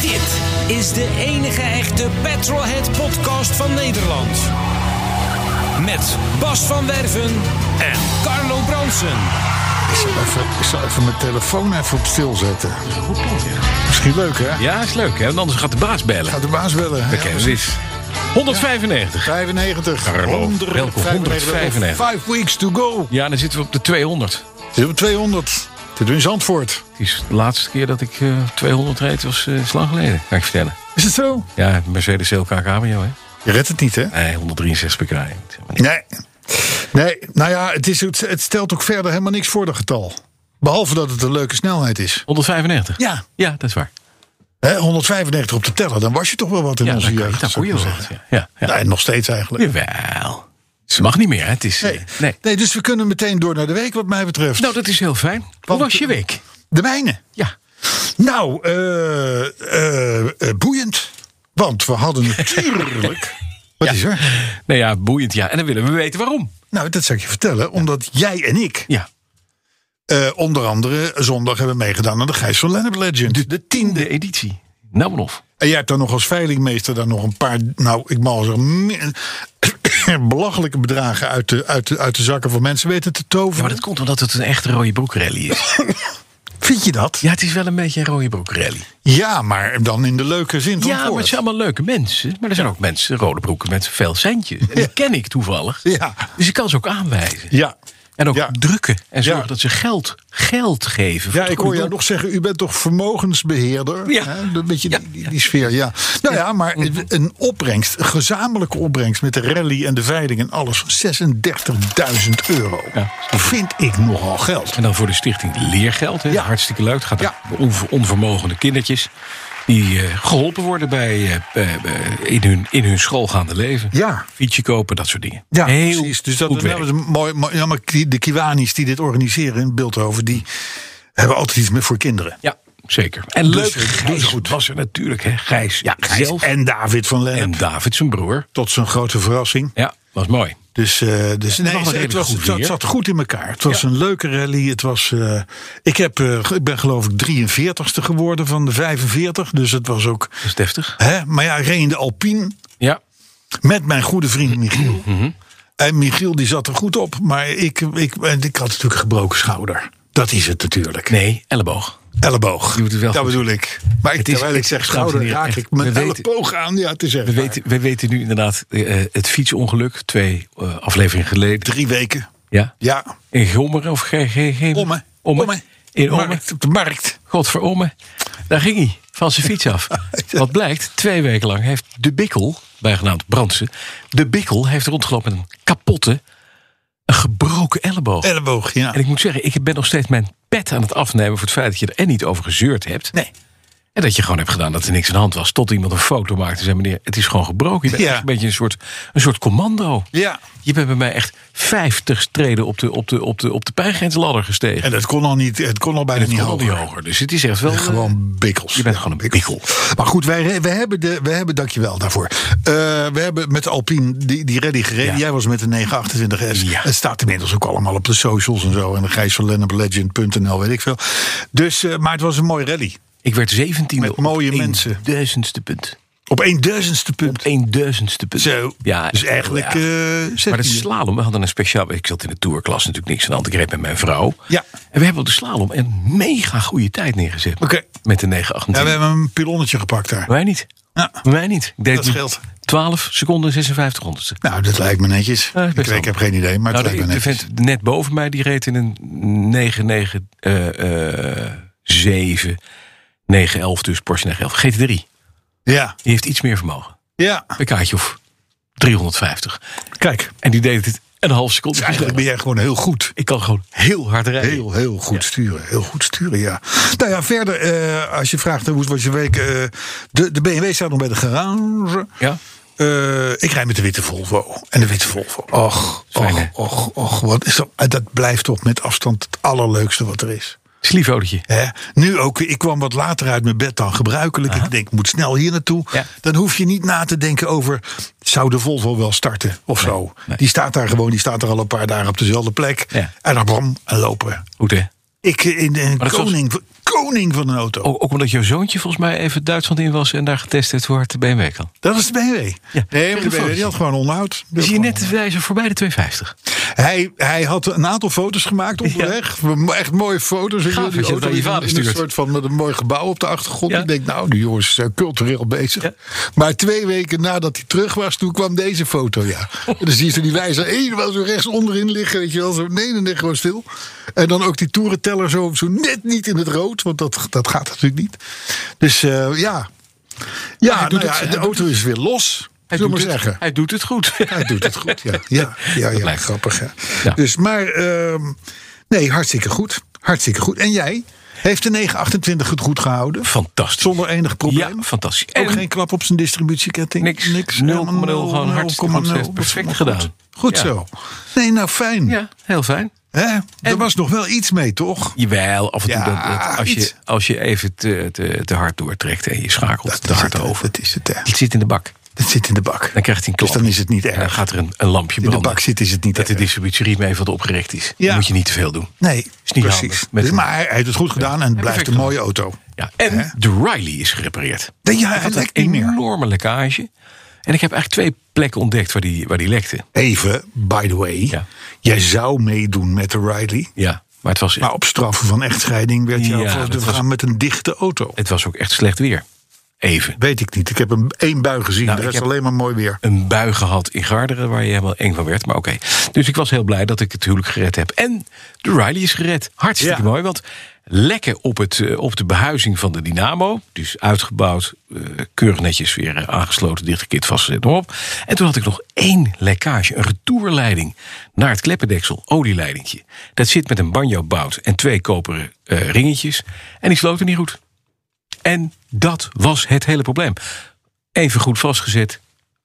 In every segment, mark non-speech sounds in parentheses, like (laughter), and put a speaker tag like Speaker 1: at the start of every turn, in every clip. Speaker 1: Dit is de enige echte Petrolhead podcast van Nederland. Met Bas van Werven en Carlo Bronsen.
Speaker 2: Ik zal, even, ik zal even mijn telefoon even op stil zetten. Misschien leuk, hè?
Speaker 3: Ja, is leuk hè, want anders gaat de baas bellen.
Speaker 2: Gaat de baas bellen.
Speaker 3: Oké, precies. 195.
Speaker 2: 95.
Speaker 3: Carlo,
Speaker 2: 100,
Speaker 3: welkom, 195.
Speaker 2: 5 weeks to go.
Speaker 3: Ja, dan zitten we op de 200.
Speaker 2: Zit op 200. Dit doen in Zandvoort.
Speaker 3: Het is de laatste keer dat ik eh, 200 reed, was eh, is lang geleden. Ga ik vertellen.
Speaker 2: Is het zo?
Speaker 3: Ja, Mercedes LK Cabrio hè.
Speaker 2: Je redt het niet, hè?
Speaker 3: Nee, 163 pk. hè. Ik zeg maar niet.
Speaker 2: Nee. Nee, nou ja, het, is, het het stelt ook verder helemaal niks voor dat getal. Behalve dat het een leuke snelheid is.
Speaker 3: 195?
Speaker 2: Ja.
Speaker 3: Ja, dat is waar.
Speaker 2: Hè, 195 op de teller, dan was je toch wel wat in
Speaker 3: Ja,
Speaker 2: onze
Speaker 3: daar, kan-
Speaker 2: jeugd.
Speaker 3: daar kon
Speaker 2: zou
Speaker 3: je
Speaker 2: ik
Speaker 3: wel
Speaker 2: maar
Speaker 3: wat.
Speaker 2: zeggen.
Speaker 3: Ja, ja. ja.
Speaker 2: Nee, nog steeds eigenlijk.
Speaker 3: Jawel. Ze mag niet meer hè, het is... eh,
Speaker 2: Nou. Nee. Nee. dus we kunnen meteen door naar de week wat mij betreft.
Speaker 3: Nou, dat is heel fijn. Hoe
Speaker 2: Want-
Speaker 3: was je week?
Speaker 2: de mijne.
Speaker 3: Ja.
Speaker 2: Nou, eh, eh, eh, boeiend. Want we hadden
Speaker 3: (laughs)
Speaker 2: natuurlijk... Wat is er?
Speaker 3: Nou ja, boeiend ja. En dan willen we weten waarom.
Speaker 2: Nou, dat zal ik je vertellen. Omdat jij en ik
Speaker 3: Ja.
Speaker 2: eh, onder andere zondag hebben meegedaan aan de Gijs van Lennep Legend.
Speaker 3: De tiende editie. Nou maar of.
Speaker 2: En jij hebt dan nog als veilingmeester dan nog een paar, nou, ik mag wel zeggen, mi- (coughs) belachelijke bedragen uit de, uit, de, uit de zakken van mensen weten te
Speaker 3: Ja,
Speaker 2: toveren.
Speaker 3: maar dat komt omdat het een echte rode
Speaker 2: (laughs)
Speaker 3: broekrally is.
Speaker 2: Vind je dat?
Speaker 3: Ja, het is wel een beetje een rode broekrally.
Speaker 2: Ja, maar dan in de leuke zin van
Speaker 3: Ja,
Speaker 2: het
Speaker 3: maar
Speaker 2: woord.
Speaker 3: het zijn allemaal leuke mensen. Maar er zijn ook mensen, rode broeken, met veel centjes. En die ken ik toevallig.
Speaker 2: Ja.
Speaker 3: Dus ik kan ze ook aanwijzen.
Speaker 2: Ja.
Speaker 3: En ook
Speaker 2: Ja.
Speaker 3: drukken. En zorgen
Speaker 2: Ja.
Speaker 3: dat ze geld, geld geven.
Speaker 2: Ja, ik hoor jou nog zeggen, u bent toch vermogensbeheerder?
Speaker 3: Ja. Mm.
Speaker 2: Hè? Een beetje die, die, die sfeer, ja. Nou ja, maar een opbrengst, een gezamenlijke opbrengst met de rally en de veiling en alles, 36.000 euro.
Speaker 3: Ja.
Speaker 2: Vind ik nogal geld.
Speaker 3: En dan voor de stichting Leergeld. Hè.
Speaker 2: Ja.
Speaker 3: Hartstikke leuk. Het gaat
Speaker 2: Ja.
Speaker 3: om onver- onvermogende kindertjes. Die eh, geholpen worden bij, eh, eh, in, hun, in hun schoolgaande leven.
Speaker 2: Ja.
Speaker 3: Fietsje kopen, dat soort dingen.
Speaker 2: Ja,
Speaker 3: Heel
Speaker 2: precies. Dus dat,
Speaker 3: goed
Speaker 2: dat
Speaker 3: werk.
Speaker 2: is een mooi, mooi- ja, maar die- de Kiwanis die dit organiseren in Beeldhoven, die hebben altijd iets met voor kinderen.
Speaker 3: Ja, zeker. En
Speaker 2: Dus,
Speaker 3: leuk,
Speaker 2: eh, doen ze
Speaker 3: Gijs
Speaker 2: goed.
Speaker 3: was er natuurlijk, hè? Gijs,
Speaker 2: Gijs
Speaker 3: zelf en,
Speaker 2: En David van Lennep,
Speaker 3: David zijn broer.
Speaker 2: tot zijn grote verrassing.
Speaker 3: Ja, was mooi.
Speaker 2: Dus, eh, dus nee,
Speaker 3: was
Speaker 2: het,
Speaker 3: redelijk
Speaker 2: was,
Speaker 3: goed
Speaker 2: het zat-
Speaker 3: weer.
Speaker 2: zat goed in elkaar. Het was een leuke rally. Het was, eh, ik, heb, eh, ik ben geloof ik 43ste geworden van de 45. Dus het was ook...
Speaker 3: Dat is deftig.
Speaker 2: Hè, maar ja, ik reed in de Alpine
Speaker 3: Ja,
Speaker 2: met mijn goede vriend Michiel.
Speaker 3: Mhm.
Speaker 2: En Michiel die zat er goed op. Maar ik, ik, en ik had natuurlijk een gebroken schouder. Dat is het natuurlijk.
Speaker 3: nee, elleboog.
Speaker 2: Elleboog.
Speaker 3: Je moet het wel
Speaker 2: dat
Speaker 3: goed
Speaker 2: bedoel ik. Maar ik,
Speaker 3: Het is-
Speaker 2: terwijl ik
Speaker 3: het-
Speaker 2: zeg
Speaker 3: dames en
Speaker 2: schouder,
Speaker 3: heren,
Speaker 2: raak
Speaker 3: echt,
Speaker 2: ik mijn
Speaker 3: we weten-
Speaker 2: elleboog aan. Ja, het is echt
Speaker 3: We
Speaker 2: waar.
Speaker 3: weten, we weten nu inderdaad eh, eh, het fietsongeluk, twee eh, afleveringen geleden.
Speaker 2: Drie weken.
Speaker 3: Ja.
Speaker 2: Ja,
Speaker 3: In Gommeren of geen. geen- geen-
Speaker 2: Omme.
Speaker 3: Omme. In Omme.
Speaker 2: Markt, op de markt.
Speaker 3: Godveromme. Daar ging hij van zijn fiets (laughs) af. Wat blijkt, twee weken lang heeft de Bikkel, bijgenaamd Brandsen, de Bikkel heeft rondgelopen met een kapotte, een gebroken elleboog.
Speaker 2: Elleboog, ja.
Speaker 3: En ik moet zeggen, ik ben nog steeds mijn pet aan het afnemen voor het feit dat je er en niet over gezeurd hebt.
Speaker 2: Nee.
Speaker 3: En dat je gewoon hebt gedaan dat er niks aan de hand was. Tot iemand een foto maakte en zei: meneer, het is gewoon gebroken. Je bent
Speaker 2: Ja.
Speaker 3: echt een beetje een soort, een soort commando.
Speaker 2: Ja.
Speaker 3: Je bent bij mij echt 50 streden op de, op de, op de, op de pijngrensladder gestegen.
Speaker 2: En dat kon al niet, het kon al bijna niet
Speaker 3: kon al
Speaker 2: hoger.
Speaker 3: niet hoger. Dus het is echt wel. eh,
Speaker 2: Gewoon bikkels.
Speaker 3: Je bent gewoon een bikkel.
Speaker 2: Maar goed, wij, re- we hebben de, we hebben, dankjewel daarvoor. Eh, we hebben met de Alpine die, die rally gereden.
Speaker 3: Ja.
Speaker 2: Jij was met de 928S.
Speaker 3: Ja.
Speaker 2: Het staat inmiddels ook allemaal op de socials en zo. En de Gijs van Lennep Legend.nl, weet ik veel. Dus, eh, maar het was een mooi rally.
Speaker 3: Ik werd 17
Speaker 2: Met mooie mensen.
Speaker 3: Duizendste punt.
Speaker 2: Op een duizendste punt.
Speaker 3: Een duizendste punt.
Speaker 2: Zo.
Speaker 3: Ja,
Speaker 2: dus
Speaker 3: ik-
Speaker 2: eigenlijk.
Speaker 3: ja.
Speaker 2: eh, zet
Speaker 3: Maar de
Speaker 2: je-
Speaker 3: slalom, we hadden een speciaal... Ik zat in de tourklas natuurlijk niks aan de hand. Ik reed met mijn vrouw.
Speaker 2: Ja.
Speaker 3: En we hebben op de slalom een mega goede tijd neergezet.
Speaker 2: Oké.
Speaker 3: Met de 9,28.
Speaker 2: ja, we hebben een pilonnetje gepakt daar.
Speaker 3: Wij niet.
Speaker 2: Ja.
Speaker 3: Wij niet. Ik deed
Speaker 2: Dat scheelt.
Speaker 3: 12 seconden 56 honderdste.
Speaker 2: Nou, dat lijkt me netjes.
Speaker 3: Ja, is
Speaker 2: ik,
Speaker 3: Ah, best
Speaker 2: weet- ik heb geen idee, maar het
Speaker 3: Nou, de,
Speaker 2: lijkt me
Speaker 3: de
Speaker 2: netjes.
Speaker 3: vent net boven mij, die reed in een 9,9... eh, eh, 7, 9,11 dus, Porsche 911. GT3. Die
Speaker 2: Ja,
Speaker 3: heeft iets meer vermogen.
Speaker 2: ja.
Speaker 3: Een kaartje of 350.
Speaker 2: Kijk,
Speaker 3: En die deed het een half seconde.
Speaker 2: dus eigenlijk ben jij gewoon heel goed.
Speaker 3: Ik kan gewoon heel hard rijden.
Speaker 2: Heel, heel goed sturen. Heel goed sturen, ja. Nou ja, verder, eh, als je vraagt eh, hoe was je week. eh, de, de BMW staat nog bij de garage.
Speaker 3: Ja.
Speaker 2: Eh, ik rijd met de witte Volvo. En de witte Volvo. Och,
Speaker 3: Fijn, hè?
Speaker 2: och, och, och. Wat is dat? eh, Dat blijft toch met afstand het allerleukste wat er is.
Speaker 3: Sliefodertje.
Speaker 2: Hè? Nu ook, ik kwam wat later uit mijn bed dan gebruikelijk. Ik denk, ik moet snel hier naartoe.
Speaker 3: Ja.
Speaker 2: Dan hoef je niet na te denken over, zou de Volvo wel starten of zo.
Speaker 3: nee.
Speaker 2: Die staat daar gewoon, die staat er al een paar dagen op dezelfde plek.
Speaker 3: Ja.
Speaker 2: En dan bam, en lopen.
Speaker 3: Goed hè?
Speaker 2: Ik eh, in, in
Speaker 3: dat Oh. was-
Speaker 2: koning, koning van een auto.
Speaker 3: Ook, ook omdat jouw zoontje volgens mij even Duitsland in was en daar getest heeft hoe hard de BMW kan.
Speaker 2: Dat is de BMW.
Speaker 3: Ja.
Speaker 2: Nee, maar de BMW die had gewoon onderhoud.
Speaker 3: Dus hier net wij zijn voorbij de 250.
Speaker 2: Hij, hij had een aantal foto's gemaakt onderweg. Echt mooie foto's. Ik
Speaker 3: Gaaf
Speaker 2: wil die
Speaker 3: dat je dat
Speaker 2: auto
Speaker 3: aan je
Speaker 2: in
Speaker 3: vader
Speaker 2: een
Speaker 3: stuurt.
Speaker 2: soort van met een mooi gebouw op de achtergrond.
Speaker 3: Ja.
Speaker 2: Ik denk, nou, die jongen is eh, cultureel bezig.
Speaker 3: Ja.
Speaker 2: Maar twee weken nadat hij terug was, toen kwam deze foto, ja. En dan zie je zo die wijzer helemaal zo rechts onderin liggen. Weet je wel, zo nee, nee, nee, gewoon stil. En dan ook die toerenteller zo, zo net niet in het rood. Want dat, dat gaat natuurlijk niet. Dus eh, ja. Ja,
Speaker 3: hij doet
Speaker 2: nou ja,
Speaker 3: het-
Speaker 2: de
Speaker 3: hij
Speaker 2: auto is weer los.
Speaker 3: Hij,
Speaker 2: zullen
Speaker 3: doet
Speaker 2: we
Speaker 3: het,
Speaker 2: zeggen.
Speaker 3: hij doet het goed. (laughs)
Speaker 2: Hij doet het goed, (laughs) ja. Ja, ja, ja,
Speaker 3: blijkt.
Speaker 2: grappig. Hè?
Speaker 3: Ja.
Speaker 2: Dus, maar ehm, nee, hartstikke goed. Hartstikke goed. En jij heeft de 928 het goed gehouden?
Speaker 3: Fantastisch.
Speaker 2: Zonder enig probleem?
Speaker 3: Ja, fantastisch.
Speaker 2: Ook
Speaker 3: En-
Speaker 2: geen klap op zijn distributieketting?
Speaker 3: Niks. 0,0,
Speaker 2: helemaal
Speaker 3: gewoon hartstikke
Speaker 2: 0,0.
Speaker 3: goed. Heeft perfect
Speaker 2: Dat is allemaal
Speaker 3: gedaan.
Speaker 2: Goed, goed
Speaker 3: Ja.
Speaker 2: zo. Nee, nou fijn.
Speaker 3: Ja, heel fijn.
Speaker 2: Hè? Er
Speaker 3: En-
Speaker 2: was nog wel iets mee, toch?
Speaker 3: Jawel, af en toe
Speaker 2: Ja,
Speaker 3: dat, dat- als, je,
Speaker 2: iets.
Speaker 3: als je even te, te, te hard doortrekt en je schakelt te
Speaker 2: is
Speaker 3: hard
Speaker 2: het,
Speaker 3: over.
Speaker 2: Dat is het, hè.
Speaker 3: Het zit in de bak.
Speaker 2: Dat zit in de bak.
Speaker 3: Dan krijgt hij een
Speaker 2: Dus
Speaker 3: klap.
Speaker 2: dan is het niet
Speaker 3: En dan
Speaker 2: erg.
Speaker 3: gaat er een, een lampje
Speaker 2: In de
Speaker 3: branden.
Speaker 2: bak zit is het niet
Speaker 3: Dat de
Speaker 2: erg.
Speaker 3: distributieriem even wat opgerekt is.
Speaker 2: Ja.
Speaker 3: Dan moet je niet te veel doen.
Speaker 2: Nee,
Speaker 3: Is niet
Speaker 2: precies.
Speaker 3: handig. Met
Speaker 2: Dus-
Speaker 3: een-
Speaker 2: maar hij heeft het goed gedaan en het blijft een
Speaker 3: perfect
Speaker 2: mooie auto.
Speaker 3: Ja, en de Riley is gerepareerd.
Speaker 2: Nee, ja, hij
Speaker 3: had
Speaker 2: lekt niet
Speaker 3: een
Speaker 2: meer.
Speaker 3: enorme lekkage. En ik heb eigenlijk twee plekken ontdekt waar die, waar die lekte.
Speaker 2: Even, by the way.
Speaker 3: Ja.
Speaker 2: Jij zou meedoen met de Riley.
Speaker 3: Ja, maar het was,
Speaker 2: Maar op straffen van echtscheiding werd jou
Speaker 3: Ja,
Speaker 2: gevraagd,
Speaker 3: dat
Speaker 2: we
Speaker 3: was-
Speaker 2: gaan met een dichte auto.
Speaker 3: het was ook echt slecht weer. Even.
Speaker 2: Weet ik niet. Ik heb een één bui gezien.
Speaker 3: Nou,
Speaker 2: de
Speaker 3: ik
Speaker 2: rest
Speaker 3: heb-
Speaker 2: alleen maar mooi weer.
Speaker 3: Een bui gehad in Garderen waar je helemaal eng van werd. Maar oké. Dus ik was heel blij dat ik het huwelijk gered heb. En de Riley is gered. Hartstikke
Speaker 2: Ja.
Speaker 3: mooi. Want lekken op, het, eh, op de behuizing van de Dynamo. Dus uitgebouwd, eh, keurig netjes weer eh, aangesloten, dichtgekit, vastgezet, nog op. En toen had ik nog één lekkage. Een retourleiding naar het kleppendeksel. Olieleidingje. Dat zit met een banjo-bout en twee koperen eh, ringetjes. En die sloten niet goed. En dat was het hele probleem. Even goed vastgezet,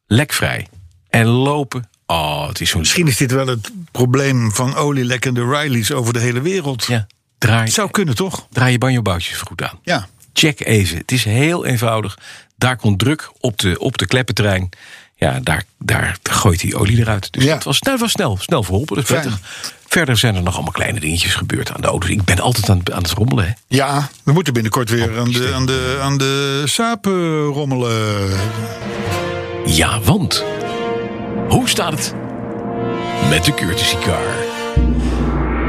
Speaker 3: lekvrij. En lopen. Oh, het is zo'n
Speaker 2: Misschien is dit wel het probleem van olielekkende Rileys over de hele wereld.
Speaker 3: Ja, draai,
Speaker 2: Het zou kunnen, toch?
Speaker 3: draai je banjoboutjes goed aan.
Speaker 2: Ja.
Speaker 3: Check even. Het is heel eenvoudig. Daar komt druk op de, op de kleppenterrein. Ja, daar, daar gooit die olie eruit. Dus
Speaker 2: Ja.
Speaker 3: dat was, nou, dat was snel, snel verholpen. Dat is
Speaker 2: Fijn.
Speaker 3: prettig. Verder zijn er nog allemaal kleine dingetjes gebeurd aan de auto's. Ik ben altijd aan, aan het rommelen. Hè.
Speaker 2: Ja, we moeten binnenkort
Speaker 3: Oh,
Speaker 2: weer aan de, aan de, aan de saap eh, rommelen.
Speaker 3: Ja, want hoe staat het met de courtesy car?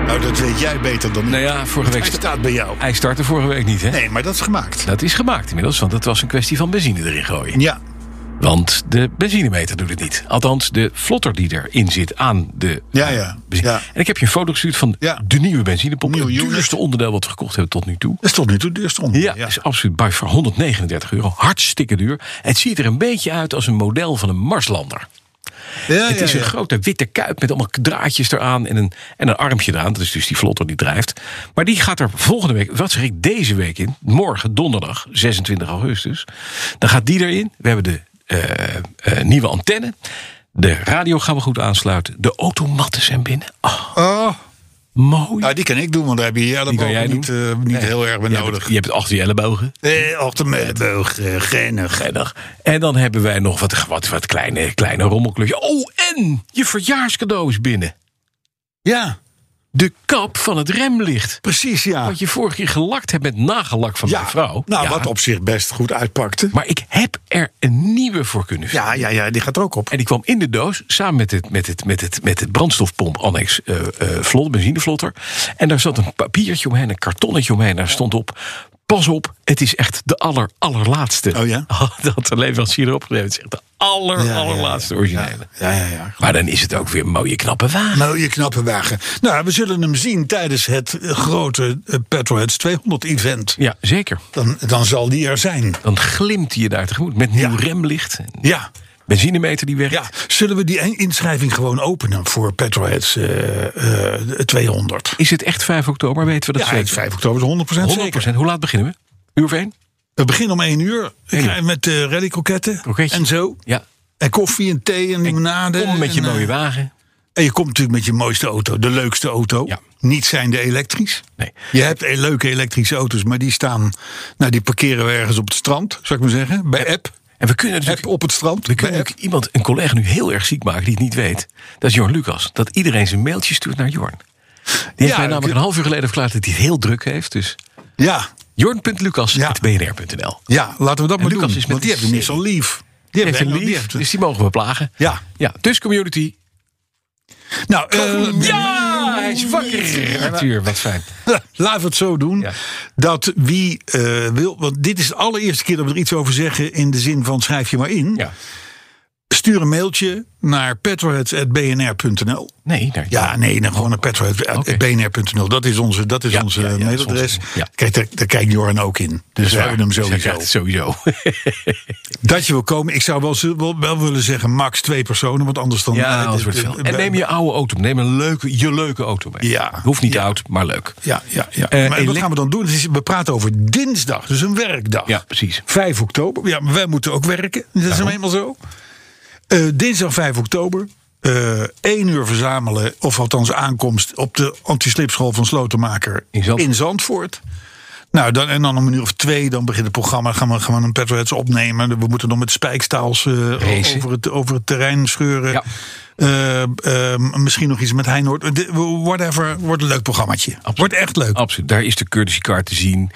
Speaker 2: Nou, dat weet jij beter dan
Speaker 3: Nou
Speaker 2: ik.
Speaker 3: ja, vorige week
Speaker 2: Hij staat bij jou.
Speaker 3: Hij startte vorige week niet, hè?
Speaker 2: Nee, maar dat is gemaakt.
Speaker 3: Dat is gemaakt inmiddels, want het was een kwestie van benzine erin gooien.
Speaker 2: Ja.
Speaker 3: Want de benzinemeter doet het niet. Althans, de vlotter die erin zit aan de eh,
Speaker 2: Ja, ja.
Speaker 3: benzine.
Speaker 2: ja.
Speaker 3: En ik heb je een foto gestuurd van
Speaker 2: Ja.
Speaker 3: de nieuwe benzinepomp.
Speaker 2: Nieuwe
Speaker 3: het
Speaker 2: unit.
Speaker 3: duurste onderdeel wat we gekocht hebben tot nu toe.
Speaker 2: Dat is tot nu toe duurst onder.
Speaker 3: Ja, is absoluut bij voor 139 euro. Hartstikke duur. Het ziet er een beetje uit als een model van een Marslander.
Speaker 2: Ja,
Speaker 3: Het
Speaker 2: ja,
Speaker 3: is een
Speaker 2: ja.
Speaker 3: grote witte kuip met allemaal draadjes eraan en een, en een armpje eraan. Dat is dus die vlotter die drijft. Maar die gaat er volgende week, wat zeg ik, deze week in. Morgen, donderdag, 26 augustus. Dan gaat die erin. We hebben de eh, eh, nieuwe antenne. De radio gaan we goed aansluiten. De automatten zijn binnen. Ah,
Speaker 2: Oh.
Speaker 3: mooi.
Speaker 2: Nou, die kan ik doen, want daar heb je je
Speaker 3: kan jij
Speaker 2: elleboog niet, eh, niet heel erg bij
Speaker 3: Je hebt,
Speaker 2: nodig.
Speaker 3: het- je hebt het achter je ellebogen.
Speaker 2: Eh, Achtermeelboog, eh, genig.
Speaker 3: Genig. En dan hebben wij nog wat, wat, wat kleine, kleine rommelklusjes. Oh, en je verjaarscadeau is binnen.
Speaker 2: Ja,
Speaker 3: De kap van het remlicht.
Speaker 2: precies, ja.
Speaker 3: Wat je vorige keer gelakt hebt met nagelak van
Speaker 2: ja.
Speaker 3: mijn vrouw.
Speaker 2: Nou,
Speaker 3: Ja.
Speaker 2: wat op zich best goed uitpakte.
Speaker 3: Maar ik heb er een nieuwe voor kunnen vinden.
Speaker 2: Ja, ja, ja, die gaat er ook op.
Speaker 3: En die kwam in de doos samen met het, met het, met het, met het brandstofpomp annex eh eh, vlot, benzinevlotter. En daar zat een papiertje omheen, een kartonnetje omheen. Daar stond op. Pas op, het is echt de aller, allerlaatste.
Speaker 2: Oh ja?
Speaker 3: (laughs) Dat de leverancier erop geleverd is echt de aller,
Speaker 2: Ja, ja, ja.
Speaker 3: allerlaatste originele.
Speaker 2: Ja, ja, ja.
Speaker 3: Maar dan is het ook weer een mooie knappe wagen.
Speaker 2: Nou, je knappe wagen. Nou, we zullen hem zien tijdens het eh, grote eh, Petroheads 200 event.
Speaker 3: Ja, zeker.
Speaker 2: Dan, dan zal die er zijn.
Speaker 3: Dan glimt hij je daar tegemoet met nieuw
Speaker 2: Ja.
Speaker 3: remlicht.
Speaker 2: Ja.
Speaker 3: Benzinemeter die werkt.
Speaker 2: ja. Zullen we die inschrijving gewoon openen voor Petroheads eh, eh, 200?
Speaker 3: Is het echt 5 oktober? Weten we dat
Speaker 2: Ja, het
Speaker 3: zeker?
Speaker 2: is 5 oktober is 100%, 100%.
Speaker 3: 100 Hoe laat beginnen we? Uur of één?
Speaker 2: We beginnen om 1 uur
Speaker 3: Eén uur.
Speaker 2: eh, met eh rallycroketten
Speaker 3: Kroketje.
Speaker 2: en zo.
Speaker 3: Ja.
Speaker 2: En koffie en thee en limonade.
Speaker 3: Kom met je
Speaker 2: en, eh,
Speaker 3: mooie wagen.
Speaker 2: En je komt natuurlijk met je mooiste auto, de leukste auto.
Speaker 3: Ja.
Speaker 2: Niet zijn de elektrisch.
Speaker 3: Nee.
Speaker 2: Je hebt eh, leuke elektrische auto's, maar die staan. Nou, die parkeren we ergens op het strand, zou ik maar zeggen. Bij app.
Speaker 3: En we kunnen natuurlijk,
Speaker 2: App op het strand.
Speaker 3: we kunnen
Speaker 2: bij app.
Speaker 3: natuurlijk iemand, een collega nu heel erg ziek maken die het niet weet. Dat is Jorn Lucas. Dat iedereen zijn mailtje stuurt naar Jorn. Die heeft
Speaker 2: Ja,
Speaker 3: mij namelijk
Speaker 2: ik-
Speaker 3: een half uur geleden verklaard dat hij het heel druk heeft. Dus
Speaker 2: Ja,
Speaker 3: Jorn.lucas.bnr.nl.
Speaker 2: ja, laten we dat maar
Speaker 3: Lucas
Speaker 2: doen.
Speaker 3: is met
Speaker 2: want die
Speaker 3: die
Speaker 2: hebben we niet zo lief. Die
Speaker 3: Heeft
Speaker 2: hebben
Speaker 3: een
Speaker 2: we
Speaker 3: lief, dus die mogen we plagen.
Speaker 2: Ja.
Speaker 3: ja dus community.
Speaker 2: Nou, eh,
Speaker 3: Ja, hij is wakker. Arthur, wat fijn.
Speaker 2: (laughs) Laten we het zo doen.
Speaker 3: Ja.
Speaker 2: Dat wie eh, wil. Want dit is de allereerste keer dat we er iets over zeggen. in de zin van schrijf je maar in.
Speaker 3: Ja.
Speaker 2: Stuur een mailtje naar petroheads.bnr.nl.
Speaker 3: Nee, nou, daar,
Speaker 2: Ja, nee, dan gewoon naar petroheads.bnr.nl. Dat is onze, dat is
Speaker 3: Ja,
Speaker 2: onze
Speaker 3: ja, ja, dat is
Speaker 2: mailadres.
Speaker 3: onze, ja.
Speaker 2: Kijk, daar, daar kijkt Joran ook in. Dus we
Speaker 3: Zwaar.
Speaker 2: hebben hem
Speaker 3: Zij
Speaker 2: sowieso.
Speaker 3: krijgt het sowieso.
Speaker 2: Dat je wil komen. Ik zou wel, z- wel, wel willen zeggen max twee personen. Want anders dan... eh,
Speaker 3: Ja,
Speaker 2: dit-
Speaker 3: anders wordt Nou, het
Speaker 2: dit-
Speaker 3: veel. En neem je oude auto mee. Neem een leuke, je leuke auto mee.
Speaker 2: Ja.
Speaker 3: Hoeft niet oud, maar leuk.
Speaker 2: Ja, ja, ja.
Speaker 3: Eh,
Speaker 2: maar wat
Speaker 3: elek-
Speaker 2: gaan we dan doen? Het is, we praten over dinsdag, dus een werkdag.
Speaker 3: Ja, precies.
Speaker 2: 5 oktober. Ja, maar wij moeten ook werken. Dat is nou eenmaal zo. Eh, dinsdag 5 oktober. eh 1 uur verzamelen, of althans aankomst op de antislipschool van Slotenmaker
Speaker 3: In Zandvoort.
Speaker 2: Zandvoort. Nou, dan, en dan om een uur of twee, dan begint het programma. Gaan we, gaan we een petroheads opnemen. We moeten nog met spijkstaals eh,
Speaker 3: Racen.
Speaker 2: over, het, over het terrein scheuren.
Speaker 3: Ja.
Speaker 2: Eh, eh, misschien nog iets met Heinoord. De- Whatever, wordt een leuk programmaatje. Wordt echt leuk.
Speaker 3: Absoluut. Oh. Daar is de courtesy car te zien.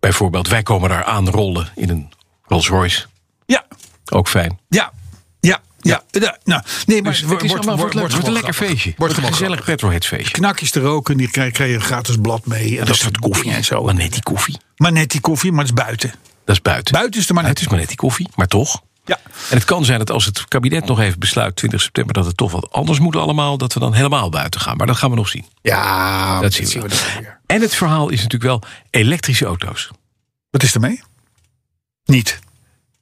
Speaker 3: Bijvoorbeeld, wij komen daar aanrollen in een Rolls Royce.
Speaker 2: Ja,
Speaker 3: Ook fijn.
Speaker 2: ja, ja, ja. ja. Nou, nee, maar
Speaker 3: Dus het is allemaal wordt, leuk. wordt een
Speaker 2: gewoon
Speaker 3: lekker
Speaker 2: grappig.
Speaker 3: feestje.
Speaker 2: Wordt
Speaker 3: een
Speaker 2: gewoon
Speaker 3: gezellig
Speaker 2: grappig.
Speaker 3: petrolhead feestje.
Speaker 2: Knakjes te roken, die krijg, krijg je een gratis blad mee. En dat soort koffie en zo.
Speaker 3: Maar net die koffie.
Speaker 2: Maar net die koffie, maar het is buiten.
Speaker 3: Dat is buiten.
Speaker 2: Buiten is er maar
Speaker 3: het
Speaker 2: net.
Speaker 3: is maar net die koffie, maar toch.
Speaker 2: Ja.
Speaker 3: En het kan zijn dat als het kabinet nog even besluit 20 september dat het toch wat anders moet allemaal, dat we dan helemaal buiten gaan. Maar dat gaan we nog zien.
Speaker 2: Ja,
Speaker 3: Dat zien we.
Speaker 2: dan weer.
Speaker 3: En het verhaal is natuurlijk wel elektrische auto's.
Speaker 2: Wat is ermee? Niet.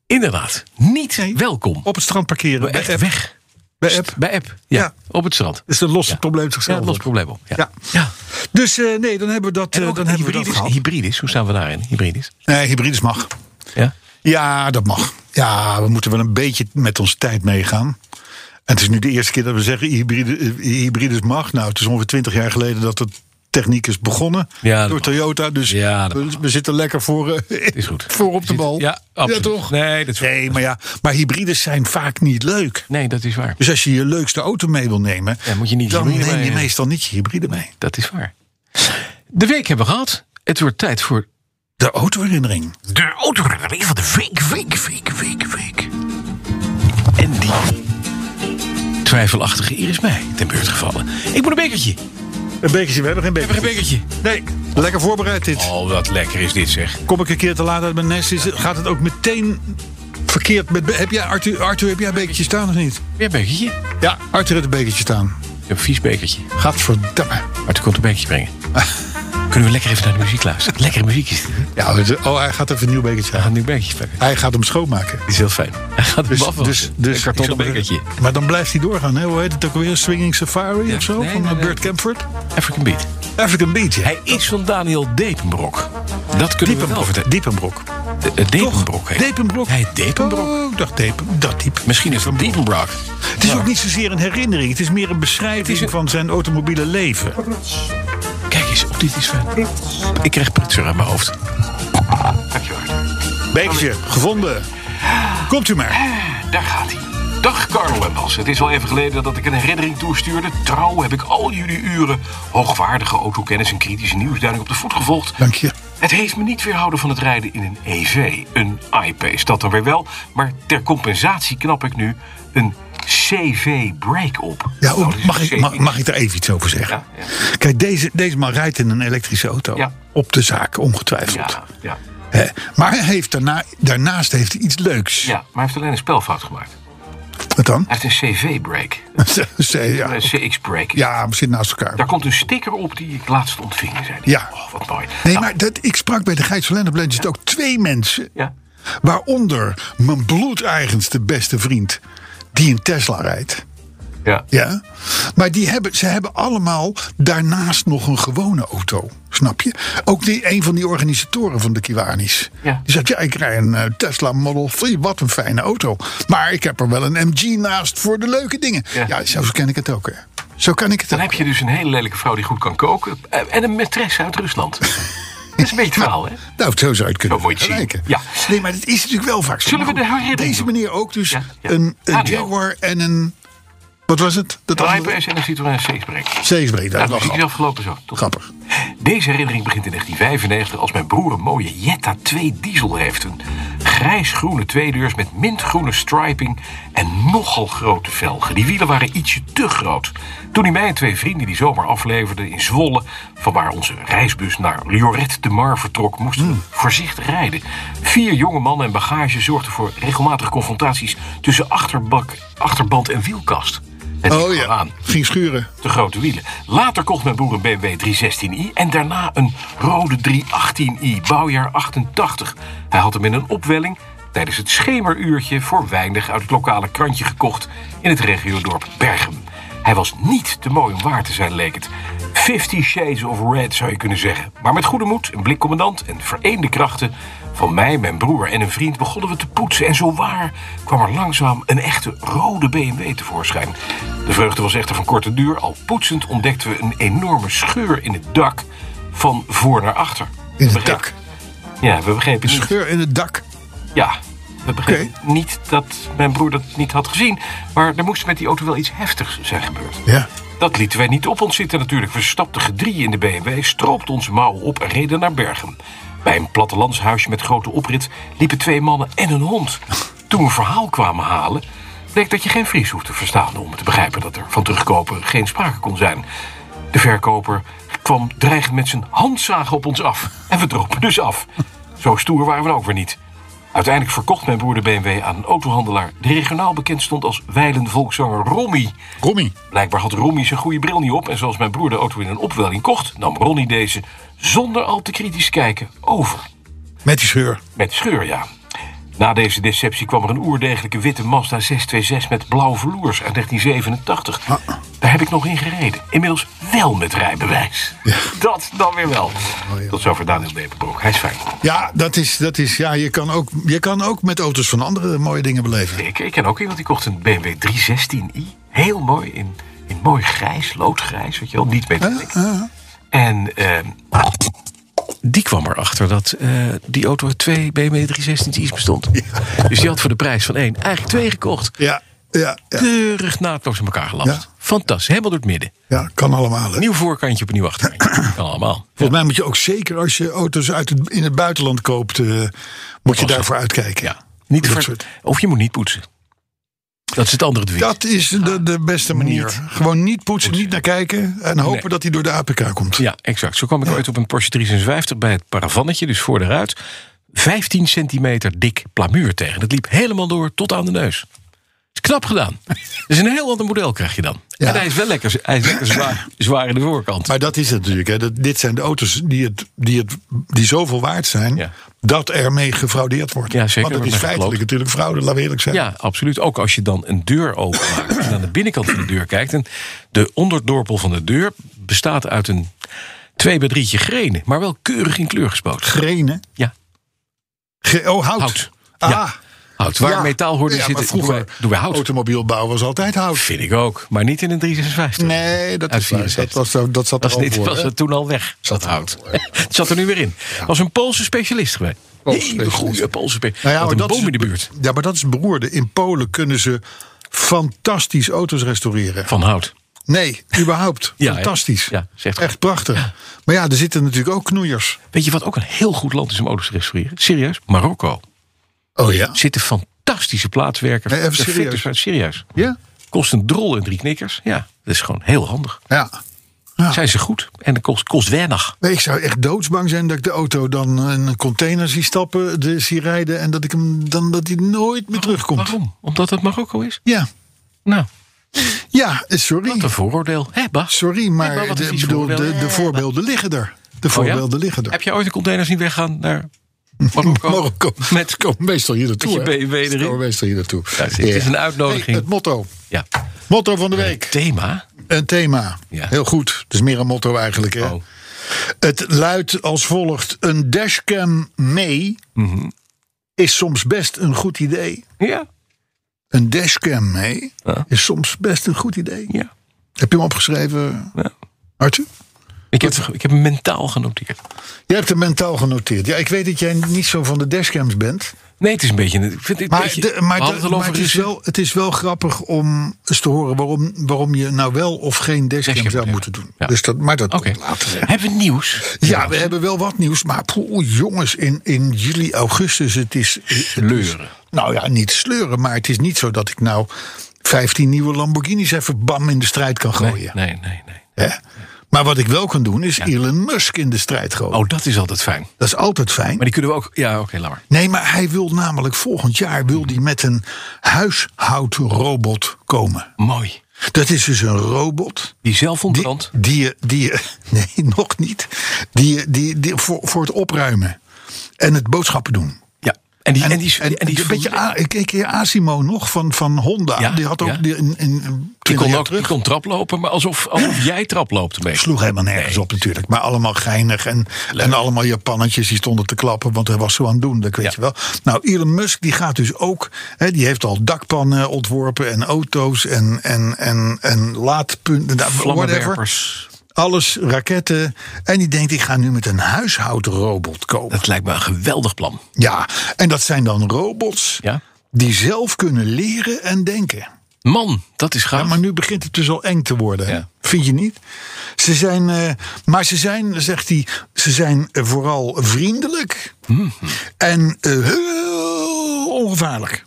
Speaker 3: Inderdaad, niet
Speaker 2: Nee.
Speaker 3: welkom.
Speaker 2: Op het strand parkeren. Bij
Speaker 3: Echt
Speaker 2: app.
Speaker 3: weg.
Speaker 2: Bij app.
Speaker 3: Bij app. Ja,
Speaker 2: Ja.
Speaker 3: op het strand.
Speaker 2: Dat is een los probleem
Speaker 3: Ja,
Speaker 2: zichzelf.
Speaker 3: los probleem op. Ja.
Speaker 2: Ja.
Speaker 3: Ja.
Speaker 2: Dus eh, nee, dan hebben we dat, eh,
Speaker 3: En ook
Speaker 2: dan hebben we dat
Speaker 3: hybrides,
Speaker 2: gehad.
Speaker 3: hybrides, hoe staan we daarin? Hybrides.
Speaker 2: Nee, hybrides mag.
Speaker 3: Ja.
Speaker 2: Ja, dat mag. Ja, we moeten wel een beetje met onze tijd meegaan. En het is nu de eerste keer dat we zeggen hybride, eh, hybrides mag. Nou, het is ongeveer twintig jaar geleden dat de techniek is begonnen
Speaker 3: Ja, dat
Speaker 2: door
Speaker 3: mag.
Speaker 2: Toyota. Dus
Speaker 3: Ja, dat
Speaker 2: we, we zitten lekker voor,
Speaker 3: (laughs)
Speaker 2: eh,
Speaker 3: Is goed.
Speaker 2: voor op
Speaker 3: Je
Speaker 2: de
Speaker 3: zit-
Speaker 2: bal.
Speaker 3: Ja, absoluut.
Speaker 2: toch?
Speaker 3: Nee, dat is,
Speaker 2: Nee, maar ja, maar hybrides zijn vaak niet leuk.
Speaker 3: nee, dat is waar.
Speaker 2: Dus als je je leukste auto mee wil nemen,
Speaker 3: Ja, moet je niet
Speaker 2: dan
Speaker 3: hybride
Speaker 2: neem je
Speaker 3: mee-
Speaker 2: meestal niet je hybride mee.
Speaker 3: Dat is waar. De week hebben we gehad. Het wordt tijd voor
Speaker 2: De autoherinnering.
Speaker 3: de autoherinnering van de week, week, week, week, week. En die twijfelachtige Iris mij ten beurt gevallen. Ik moet een bekertje.
Speaker 2: Een bekertje, we hebben geen
Speaker 3: Even een
Speaker 2: bekertje.
Speaker 3: bekertje.
Speaker 2: Nee, lekker voorbereid dit.
Speaker 3: Oh, wat lekker is dit zeg.
Speaker 2: Kom ik een keer te laat uit mijn nest, is, gaat het ook meteen verkeerd. Met, heb jij, Arthur, Arthur, heb jij een bekertje staan of niet?
Speaker 3: Weer een bekertje.
Speaker 2: Ja. Arthur heeft een bekertje staan.
Speaker 3: Een vies bekertje.
Speaker 2: Gadverdamme.
Speaker 3: Maar toen komt een bekertje (laughs) brengen. Kunnen we lekker even naar de muziek luisteren? Lekkere muziek is dit. hè?
Speaker 2: Ja, het- oh, hij gaat even een nieuw bekertje
Speaker 3: We gaan
Speaker 2: aan.
Speaker 3: nu bekertjes pakken.
Speaker 2: Hij gaat hem schoonmaken. Dus-
Speaker 3: Die is heel fijn. Dus- Hij gaat hem afwassen. een kartonnen
Speaker 2: ik zou
Speaker 3: bekertje.
Speaker 2: zeggen- Maar dan blijft hij doorgaan. Hè? Hoe heet het ook weer? Swinging Safari
Speaker 3: Ja,
Speaker 2: of zo?
Speaker 3: nee,
Speaker 2: van
Speaker 3: nee,
Speaker 2: eh,
Speaker 3: nee.
Speaker 2: Bert Camford?
Speaker 3: African Beat.
Speaker 2: African Beat, ja.
Speaker 3: Hij is van Daniel Depenbrok. Dat kunnen we wel
Speaker 2: Diepenbrok.
Speaker 3: vertellen.
Speaker 2: Diepenbrok.
Speaker 3: De- eh, Depenbrok heet.
Speaker 2: Depenbrok?
Speaker 3: Hij heet Depenbrok.
Speaker 2: Oh, ik dacht Depen, dat diep.
Speaker 3: Misschien is het Diepenbrok.
Speaker 2: Het is ook niet zozeer een herinnering. Het is meer een beschrijving
Speaker 3: een-
Speaker 2: van zijn automobiele leven.
Speaker 3: Kijk eens, op dit is fijn. Ik krijg prutser aan mijn hoofd.
Speaker 2: Bekertje, gevonden. Komt u maar.
Speaker 3: Daar gaat hij. Dag Carlo en Bas. Het is al even geleden dat ik een herinnering toestuurde. Trouw heb ik al jullie uren hoogwaardige autokennis en kritische nieuwsduiding op de voet gevolgd.
Speaker 2: Dank je.
Speaker 3: Het heeft me niet weerhouden van het rijden in een EV. Een I-Pace, dat dan weer wel. Maar ter compensatie knap ik nu een CV Break op.
Speaker 2: Ja,
Speaker 3: Nou, dat
Speaker 2: oh,
Speaker 3: is
Speaker 2: mag,
Speaker 3: een
Speaker 2: ik,
Speaker 3: CV.
Speaker 2: mag, mag ik daar even iets over zeggen?
Speaker 3: Ja, ja.
Speaker 2: Kijk, deze, deze man rijdt in een elektrische auto.
Speaker 3: Ja.
Speaker 2: Op de zaak, ongetwijfeld.
Speaker 3: Ja, ja,
Speaker 2: Hè, maar hij heeft daarna, daarnaast heeft hij iets leuks.
Speaker 3: ja, maar hij heeft alleen een spelfout gemaakt.
Speaker 2: Wat dan?
Speaker 3: Hij heeft een CV Break.
Speaker 2: (laughs) Zei- ja.
Speaker 3: Een CX Break.
Speaker 2: ja, we zitten naast elkaar.
Speaker 3: Daar komt een sticker op die ik laatst ontving, zei hij.
Speaker 2: Ja.
Speaker 3: Oh, wat mooi.
Speaker 2: Nee,
Speaker 3: Nou,
Speaker 2: maar dat, ik sprak bij de Gijs van Lennep Legend ook twee mensen.
Speaker 3: Ja.
Speaker 2: Waaronder mijn bloedeigenste beste vriend. Die een Tesla rijdt.
Speaker 3: Ja.
Speaker 2: Ja, maar die hebben, ze hebben allemaal daarnaast nog een gewone auto. Snap je? Ook die, een van die organisatoren van de Kiwanis.
Speaker 3: Ja.
Speaker 2: Die zegt, ja, ik rij een eh, Tesla Model 3. Wat een fijne auto. Maar ik heb er wel een MG naast voor de leuke dingen. Ja,
Speaker 3: Ja.
Speaker 2: zo ken ik het ook. Hè. Zo kan ik het
Speaker 3: Dan
Speaker 2: ook.
Speaker 3: heb je dus een hele lelijke vrouw die goed kan koken. eh, En een maîtresse uit
Speaker 2: (laughs)
Speaker 3: Rusland. dat is een beetje het verhaal, hè?
Speaker 2: Nou, zo zou je het kunnen
Speaker 3: Zo moet je het zien.
Speaker 2: vergelijken.
Speaker 3: Ja.
Speaker 2: Nee, maar dat is natuurlijk wel vaak zo.
Speaker 3: Zullen we
Speaker 2: Maar goed,
Speaker 3: de herinnering
Speaker 2: Deze
Speaker 3: doen?
Speaker 2: meneer ook dus
Speaker 3: Ja, ja.
Speaker 2: een, een
Speaker 3: Radio.
Speaker 2: Jaguar en een... Wat was het? Dat
Speaker 3: Een
Speaker 2: andere?
Speaker 3: iPS en een Citroën C-Break.
Speaker 2: CX-breed. Dat
Speaker 3: Ja,
Speaker 2: is wel
Speaker 3: dat is
Speaker 2: grappig.
Speaker 3: afgelopen zo. Toch?
Speaker 2: grappig.
Speaker 3: Deze herinnering begint in 1995 als mijn broer een mooie Jetta 2 diesel heeft. Een grijs-groene tweedeurs met mintgroene striping en nogal grote velgen. Die wielen waren ietsje te groot. Toen hij mij en twee vrienden die zomer afleverden in Zwolle... van waar onze reisbus naar Lioret de Mar vertrok, moesten
Speaker 2: Hmm.
Speaker 3: we voorzichtig rijden. Vier jonge mannen en bagage zorgden voor regelmatige confrontaties... tussen achterbak, achterband en wielkast. Het liep
Speaker 2: Oh ja,
Speaker 3: aan
Speaker 2: ging schuren.
Speaker 3: de grote wielen. Later kocht mijn broer een BMW 316i en daarna een rode 318i, bouwjaar 88. Hij had hem in een opwelling tijdens het schemeruurtje voor weinig uit het lokale krantje gekocht in het regiodorp Bergen. Hij was niet te mooi om waar te zijn, leek het. Fifty Shades of Red zou je kunnen zeggen. Maar met goede moed, een blik commandant en vereende krachten van mij, mijn broer en een vriend begonnen we te poetsen. En zo waar kwam er langzaam een echte rode BMW tevoorschijn. De vreugde was echter van korte duur. Al poetsend ontdekten we een enorme scheur in het dak van voor naar achter.
Speaker 2: In het
Speaker 3: Begreep-
Speaker 2: dak.
Speaker 3: Ja, we begrepen niet.
Speaker 2: Scheur in het dak.
Speaker 3: Ja, we begrepen niet dat mijn broer dat niet had gezien. Maar er moest met die auto wel iets heftigs zijn gebeurd.
Speaker 2: Ja.
Speaker 3: Dat lieten wij niet op ons zitten natuurlijk. We stapten gedrieën in de BMW, stroopten onze mouwen op en reden naar Bergen. Bij een plattelandshuisje met grote oprit liepen twee mannen en een hond. Toen we een verhaal kwamen halen, bleek dat je geen Fries hoeft te verstaan... om te begrijpen dat er van terugkopen geen sprake kon zijn. De verkoper kwam dreigend met zijn handzagen op ons af. En we dropen dus af. Zo stoer waren we dan ook weer niet. Uiteindelijk verkocht mijn broer de BMW aan een autohandelaar... die regionaal bekend stond als Weilen volkszanger Rommy...
Speaker 2: Rommie.
Speaker 3: Blijkbaar had Ronnie zijn goede bril niet op... en zoals mijn broer de auto in een opwelling kocht... nam Ronnie deze, zonder al te kritisch te kijken, over.
Speaker 2: Met die scheur.
Speaker 3: Met scheur, ja. Na deze deceptie kwam er een oerdegelijke witte Mazda 626 met blauw verloers uit 1987. Daar heb ik nog in gereden. Inmiddels wel met rijbewijs. Dat dan weer wel. Tot zover Daniel Beperbroek. Hij is fijn.
Speaker 2: Ja, dat is, dat is, ja je, kan ook, je kan ook met auto's van anderen mooie dingen beleven.
Speaker 3: Ik, ik ken ook iemand die kocht een BMW 316i. Heel mooi, in, in mooi grijs, loodgrijs, weet je wel. Niet
Speaker 2: Ah,
Speaker 3: metalen. En ehm, die kwam erachter dat eh, die auto uit twee BMW 316's bestond. Dus die had voor de prijs van één eigenlijk twee gekocht.
Speaker 2: Ja, ja, ja,
Speaker 3: Keurig naadloos aan elkaar gelast.
Speaker 2: Ja.
Speaker 3: Fantastisch, helemaal door het midden.
Speaker 2: ja kan allemaal. Hè.
Speaker 3: Nieuw voorkantje op een nieuw
Speaker 2: (clears throat)
Speaker 3: achterkantje. kan allemaal.
Speaker 2: Volgens mij moet je ook zeker als je auto's uit het, in het buitenland koopt, eh, moet je daarvoor uitkijken.
Speaker 3: Ja. Niet
Speaker 2: Dat
Speaker 3: ver-
Speaker 2: soort-
Speaker 3: Of je moet niet poetsen. Dat is het andere dwing.
Speaker 2: Dat is de, de beste manier.
Speaker 3: Niet.
Speaker 2: Gewoon niet poetsen, niet naar kijken en hopen
Speaker 3: Nee.
Speaker 2: dat hij door de APK komt.
Speaker 3: Ja, exact. Zo kwam ik ooit op een Porsche 356 bij het paravannetje, dus voor de ruit. 15 centimeter dik plamuur tegen. Dat liep helemaal door tot aan de neus. Is knap
Speaker 2: (laughs)
Speaker 3: gedaan. Dus een heel ander model krijg je dan.
Speaker 2: Ja.
Speaker 3: En hij is wel lekker, hij is lekker zwaar, zwaar in de voorkant.
Speaker 2: Maar dat is het natuurlijk. Hè. Dat, dit zijn de auto's die, het, die, het, die zoveel waard zijn
Speaker 3: Ja.
Speaker 2: dat er mee gefraudeerd wordt.
Speaker 3: Ja, zeker,
Speaker 2: Want
Speaker 3: wordt
Speaker 2: het is
Speaker 3: mee
Speaker 2: feitelijk
Speaker 3: geloofd.
Speaker 2: natuurlijk fraude, laten we eerlijk zijn.
Speaker 3: Ja, absoluut. Ook als je dan een deur openmaakt en aan de binnenkant van de deur kijkt. En de onderdorpel van de deur bestaat uit een 2 bij 3 grenen. Maar wel keurig in kleur gespoten.
Speaker 2: Grenen.
Speaker 3: Ja,
Speaker 2: Ge- oh, hout.
Speaker 3: Hout.
Speaker 2: Ah,
Speaker 3: Ja. hout. Waar
Speaker 2: ja.
Speaker 3: metaal hoorde
Speaker 2: Ja, maar
Speaker 3: zitten, doen
Speaker 2: vroeger,
Speaker 3: wij, doen wij hout.
Speaker 2: automobielbouw was altijd hout.
Speaker 3: Vind ik ook, maar niet in een 356.
Speaker 2: Nee, dat,
Speaker 3: Uit
Speaker 2: is waar.
Speaker 3: 64.
Speaker 2: dat, was, zo- dat zat
Speaker 3: was,
Speaker 2: er al
Speaker 3: niet,
Speaker 2: voor.
Speaker 3: was
Speaker 2: hè.
Speaker 3: het toen al weg.
Speaker 2: Zat er
Speaker 3: Dat
Speaker 2: al
Speaker 3: hout.
Speaker 2: voor,
Speaker 3: Het zat er nu weer in. Was een Poolse specialist geweest.
Speaker 2: Poolse
Speaker 3: Hele
Speaker 2: specialist.
Speaker 3: goede Poolse specialist.
Speaker 2: Nou ja,
Speaker 3: Had
Speaker 2: maar
Speaker 3: een
Speaker 2: dat is
Speaker 3: boom in de
Speaker 2: het-
Speaker 3: buurt
Speaker 2: Ja, maar dat is beroerde. In Polen kunnen ze fantastisch auto's restaureren.
Speaker 3: van hout.
Speaker 2: Nee, überhaupt.
Speaker 3: Ja, hè?
Speaker 2: fantastisch.
Speaker 3: Ja, zegt
Speaker 2: Echt prachtig. Maar ja, er zitten natuurlijk ook knoeiers.
Speaker 3: Weet je wat ook een heel goed land is om auto's te restaureren? Serieus? Marokko.
Speaker 2: Oh ja?
Speaker 3: Zitten fantastische plaatswerkers.
Speaker 2: Nee, even
Speaker 3: Perfecte
Speaker 2: serieus.
Speaker 3: plaats- serieus.
Speaker 2: Ja?
Speaker 3: Kost een drol en drie knikkers. Ja, dat is gewoon heel handig.
Speaker 2: Ja.
Speaker 3: Zijn ze goed en dat kost, kost weinig.
Speaker 2: Nee, ik zou echt doodsbang zijn dat ik de auto dan in een container zie stappen, de, zie rijden en dat ik hem dan dat hij nooit meer terugkomt.
Speaker 3: Waarom? Omdat het Marokko is?
Speaker 2: Ja.
Speaker 3: Nou,
Speaker 2: Ja, eh, sorry.
Speaker 3: wat een vooroordeel. Hé, Bas?
Speaker 2: Sorry, maar,
Speaker 3: maar wat een
Speaker 2: de,
Speaker 3: vies
Speaker 2: bedoel, de,
Speaker 3: voorbeeld.
Speaker 2: de voorbeelden liggen er. De
Speaker 3: Oh ja?
Speaker 2: voorbeelden liggen er.
Speaker 3: Heb je ooit een container zien weggaan naar Marokko?
Speaker 2: (laughs) Marokko.
Speaker 3: Met
Speaker 2: Kom meestal hier naartoe.
Speaker 3: Met je
Speaker 2: hè?
Speaker 3: BMW erin.
Speaker 2: Ze komen meestal hier naartoe.
Speaker 3: Ja, het is
Speaker 2: Ja.
Speaker 3: een uitnodiging.
Speaker 2: Hey, eh, het motto.
Speaker 3: ja.
Speaker 2: Motto van de week.
Speaker 3: Thema?
Speaker 2: Een thema.
Speaker 3: Ja.
Speaker 2: Heel goed. Het is meer een motto eigenlijk. Hè?
Speaker 3: Oh.
Speaker 2: Het luidt als volgt. Een dashcam mee
Speaker 3: Mhm.
Speaker 2: is soms best een goed idee.
Speaker 3: Ja.
Speaker 2: Een dashcam mee
Speaker 3: Ja.
Speaker 2: is soms best een goed idee.
Speaker 3: ja.
Speaker 2: Heb je hem opgeschreven,
Speaker 3: Ja.
Speaker 2: Arthur?
Speaker 3: Ik, heb, ik heb hem mentaal genoteerd.
Speaker 2: Jij hebt hem mentaal genoteerd. Ja, ik weet dat jij niet zo van de dashcams bent.
Speaker 3: Nee, het is een beetje... Ik vind het een
Speaker 2: Maar,
Speaker 3: beetje-
Speaker 2: de- maar,
Speaker 3: we hadden
Speaker 2: de-
Speaker 3: het al
Speaker 2: maar
Speaker 3: over
Speaker 2: het, is
Speaker 3: Russen.
Speaker 2: wel, het is wel grappig om eens te horen waarom, waarom je nou wel of geen dashcam
Speaker 3: Dashcam,
Speaker 2: zou
Speaker 3: ja.
Speaker 2: moeten doen.
Speaker 3: Ja.
Speaker 2: Dus dat, maar dat
Speaker 3: Oké.
Speaker 2: komt later.
Speaker 3: Hebben we nieuws?
Speaker 2: Ja, we hebben wel wat nieuws, maar poeh, jongens, in, in juli, augustus, het is... het is-
Speaker 3: Sleuren.
Speaker 2: nou ja, niet sleuren, maar het is niet zo dat ik nou 15 nieuwe Lamborghinis even bam in de strijd kan
Speaker 3: Nee,
Speaker 2: gooien.
Speaker 3: nee, nee, nee.
Speaker 2: Hè? Maar wat ik wel kan doen, is Elon Musk in de strijd gooien.
Speaker 3: Oh, dat is altijd fijn.
Speaker 2: Dat is altijd fijn.
Speaker 3: Maar die kunnen we ook... Ja, oké, laat maar.
Speaker 2: Nee, maar hij wil namelijk volgend jaar wil die met een huishoudrobot komen.
Speaker 3: Mooi.
Speaker 2: Dat is dus een robot
Speaker 3: Die zelf
Speaker 2: die,
Speaker 3: ontbrandt.
Speaker 2: die je, die je, (laughs) nee, nog niet, die je, die, die, voor, voor het opruimen en het boodschappen doen.
Speaker 3: Ja. En die, en, die,
Speaker 2: en
Speaker 3: en die,
Speaker 2: een beetje, A- ik keek hier Asimo nog van, van Honda.
Speaker 3: Ja,
Speaker 2: die had ook
Speaker 3: ja.
Speaker 2: die, in, in,
Speaker 3: die
Speaker 2: 20
Speaker 3: kon
Speaker 2: jaar
Speaker 3: ook die
Speaker 2: terug.
Speaker 3: kon traplopen, maar alsof, alsof jij traploopte mee.
Speaker 2: sloeg helemaal nergens op natuurlijk. Maar allemaal geinig en, en allemaal Japannetjes die stonden te klappen. Want hij was zo aan het doen, dat weet
Speaker 3: Ja.
Speaker 2: je wel. Nou, Elon Musk die gaat dus ook... Hè, die heeft al dakpannen ontworpen en auto's en, en, en, en laadpunten. nou, Whatever.
Speaker 3: Vlammenwerpers.
Speaker 2: Alles, raketten. En die denkt, ik ga nu met een huishoudrobot komen.
Speaker 3: Dat lijkt me een geweldig plan.
Speaker 2: Ja, en dat zijn dan robots
Speaker 3: Ja.
Speaker 2: die zelf kunnen leren en denken.
Speaker 3: Man, dat is gaaf.
Speaker 2: Ja, maar nu begint het dus al eng te worden. hè?
Speaker 3: Ja.
Speaker 2: Vind je niet? Ze zijn, eh, maar ze zijn, zegt hij, ze zijn eh, vooral vriendelijk
Speaker 3: Mhm.
Speaker 2: en eh, heel ongevaarlijk.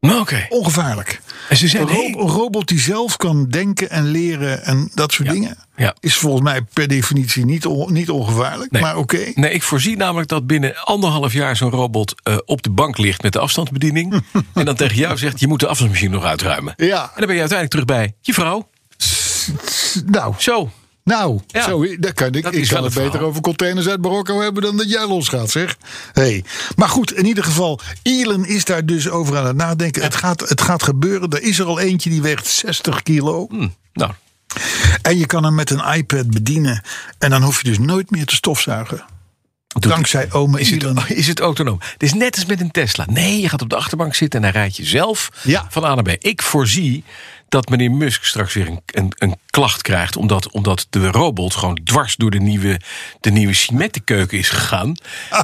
Speaker 3: Nou, Oké.
Speaker 2: Ongevaarlijk.
Speaker 3: En ze zijn
Speaker 2: Een ro-
Speaker 3: heel-
Speaker 2: een robot die zelf kan denken en leren en dat soort dingen.
Speaker 3: ja.
Speaker 2: Is volgens mij per definitie niet, on- niet ongevaarlijk,
Speaker 3: Nee.
Speaker 2: maar oké.
Speaker 3: Nee, ik voorzie namelijk dat binnen anderhalf jaar zo'n robot eh, op de bank ligt met de
Speaker 2: (laughs)
Speaker 3: afstandsbediening. en dan tegen jou zegt: je moet de afstandsmachine nog uitruimen.
Speaker 2: Ja.
Speaker 3: En dan ben je uiteindelijk terug bij je vrouw.
Speaker 2: Nou,
Speaker 3: Zo.
Speaker 2: nou
Speaker 3: Ja.
Speaker 2: zo, daar kan ik,
Speaker 3: Dat
Speaker 2: ik
Speaker 3: is
Speaker 2: kan
Speaker 3: wel
Speaker 2: het
Speaker 3: het
Speaker 2: beter
Speaker 3: verhaal.
Speaker 2: over containers uit Marokko hebben dan dat jij losgaat, zeg. Hey. Maar goed, in ieder geval, Elon is daar dus over aan het nadenken. Het, gaat, het gaat gebeuren. Er is er al eentje die weegt 60 kilo.
Speaker 3: Hm, nou,
Speaker 2: En je kan hem met een iPad bedienen. En dan hoef je dus nooit meer te stofzuigen.
Speaker 3: doet-
Speaker 2: Dankzij oma
Speaker 3: is
Speaker 2: Elon.
Speaker 3: het, (laughs) is het autonoom? Het is net als met een Tesla. Nee, je gaat op de achterbank zitten en hij rijdt je zelf
Speaker 2: Ja.
Speaker 3: van A naar B. Ik voorzie dat meneer Musk straks weer een, een, een klacht krijgt... Omdat, omdat de robot gewoon dwars door de nieuwe, de nieuwe cimentenkeuken is
Speaker 2: (laughs)
Speaker 3: gegaan.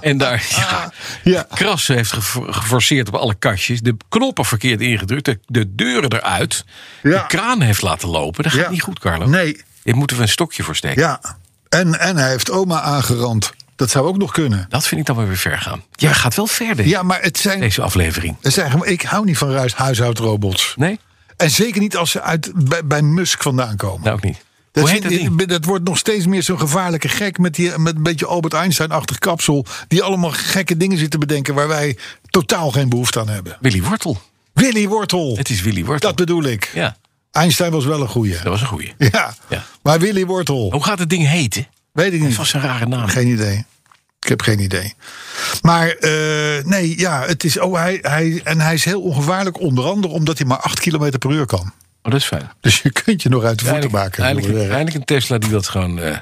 Speaker 3: En daar ja,
Speaker 2: Ah, Ja.
Speaker 3: krassen heeft gefor- geforceerd op alle kastjes. De knoppen verkeerd ingedrukt, de, de deuren eruit.
Speaker 2: Ja.
Speaker 3: De kraan heeft laten lopen. Dat gaat niet goed, Carlo.
Speaker 2: Nee,
Speaker 3: Hier moeten we een stokje voor steken.
Speaker 2: ja. En, en hij heeft oma aangerand. Dat zou ook nog kunnen.
Speaker 3: Dat vind ik dan wel weer ver gaan. Jij gaat wel verder
Speaker 2: Ja, maar het zijn...
Speaker 3: deze aflevering.
Speaker 2: het zijn gewoon- ik hou niet van ruis- huishoudrobots.
Speaker 3: Nee?
Speaker 2: En zeker niet als ze uit, bij, bij Musk vandaan komen.
Speaker 3: Nou, ook niet.
Speaker 2: Dat,
Speaker 3: Hoe
Speaker 2: is-
Speaker 3: heet dat ding?
Speaker 2: dat, wordt nog steeds meer zo'n gevaarlijke gek met, die, met een beetje Albert Einstein-achtig kapsel. Die allemaal gekke dingen zit te bedenken waar wij totaal geen behoefte aan hebben.
Speaker 3: Willy Wortel.
Speaker 2: Willy Wortel,
Speaker 3: Het is Willy Wortel.
Speaker 2: dat bedoel ik.
Speaker 3: Ja,
Speaker 2: Einstein was wel een goeie.
Speaker 3: dat was een goeie.
Speaker 2: Ja.
Speaker 3: Ja. Oh.
Speaker 2: maar Willy Wortel,
Speaker 3: Hoe gaat het ding heten?
Speaker 2: weet ik niet.
Speaker 3: Vast een rare naam.
Speaker 2: Geen idee. Ik heb geen idee. Maar eh, nee, ja, het is. Oh, hij, hij, en hij is heel ongevaarlijk, onder andere omdat hij maar 8 km per uur kan.
Speaker 3: Oh, dat is fijn.
Speaker 2: Dus je kunt je nog uit de voeten
Speaker 3: Eindelijk,
Speaker 2: maken.
Speaker 3: eindelijk,
Speaker 2: Door, eh,
Speaker 3: eindelijk een Tesla die dat gewoon... eh,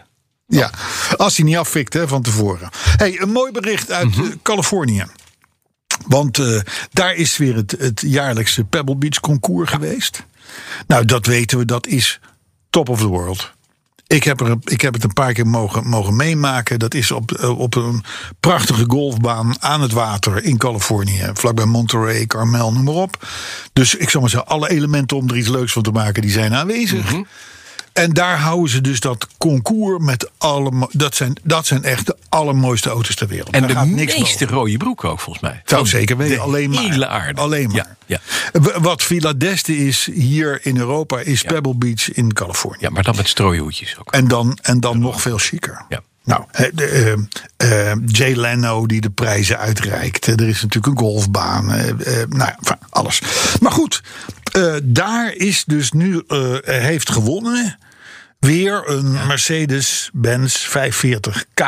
Speaker 2: Ja, als hij niet afvikt hè, van tevoren. Hey, een mooi bericht uit eh, Californië. Want eh, daar is weer het, het jaarlijkse Pebble Beach concours geweest. Nou, dat weten we, dat is top of the world. Ik heb, er, ik heb het een paar keer mogen, mogen meemaken. Dat is op, eh, op een prachtige golfbaan aan het water in Californië. Vlakbij Monterey, Carmel, noem maar op. Dus ik zal maar zeggen, alle elementen om er iets leuks van te maken, die zijn aanwezig.
Speaker 3: Mhm.
Speaker 2: En daar houden ze dus dat concours met alle. Dat zijn, dat zijn echt de allermooiste auto's ter wereld.
Speaker 3: en
Speaker 2: Daar
Speaker 3: de
Speaker 2: gaat niks
Speaker 3: meeste
Speaker 2: boven.
Speaker 3: rode broek ook, volgens mij.
Speaker 2: Zou
Speaker 3: Van
Speaker 2: zeker weten.
Speaker 3: Oh, de
Speaker 2: Alleen maar.
Speaker 3: hele aarde.
Speaker 2: Alleen
Speaker 3: Ja,
Speaker 2: maar.
Speaker 3: ja.
Speaker 2: W- Wat Villa d'Este is hier in Europa, is Pebble Beach in Californië.
Speaker 3: ja, maar dan met strooihoedjes ook.
Speaker 2: En dan, en dan nog veel chiquer.
Speaker 3: Ja.
Speaker 2: Nou, hè, de, eh, eh, Jay Leno die de prijzen uitreikt. Eh, Er is natuurlijk een golfbaan. eh, eh, nou ja, enfin, alles. Maar goed, eh, daar is dus nu, eh, heeft gewonnen weer een Mercedes-Benz 540K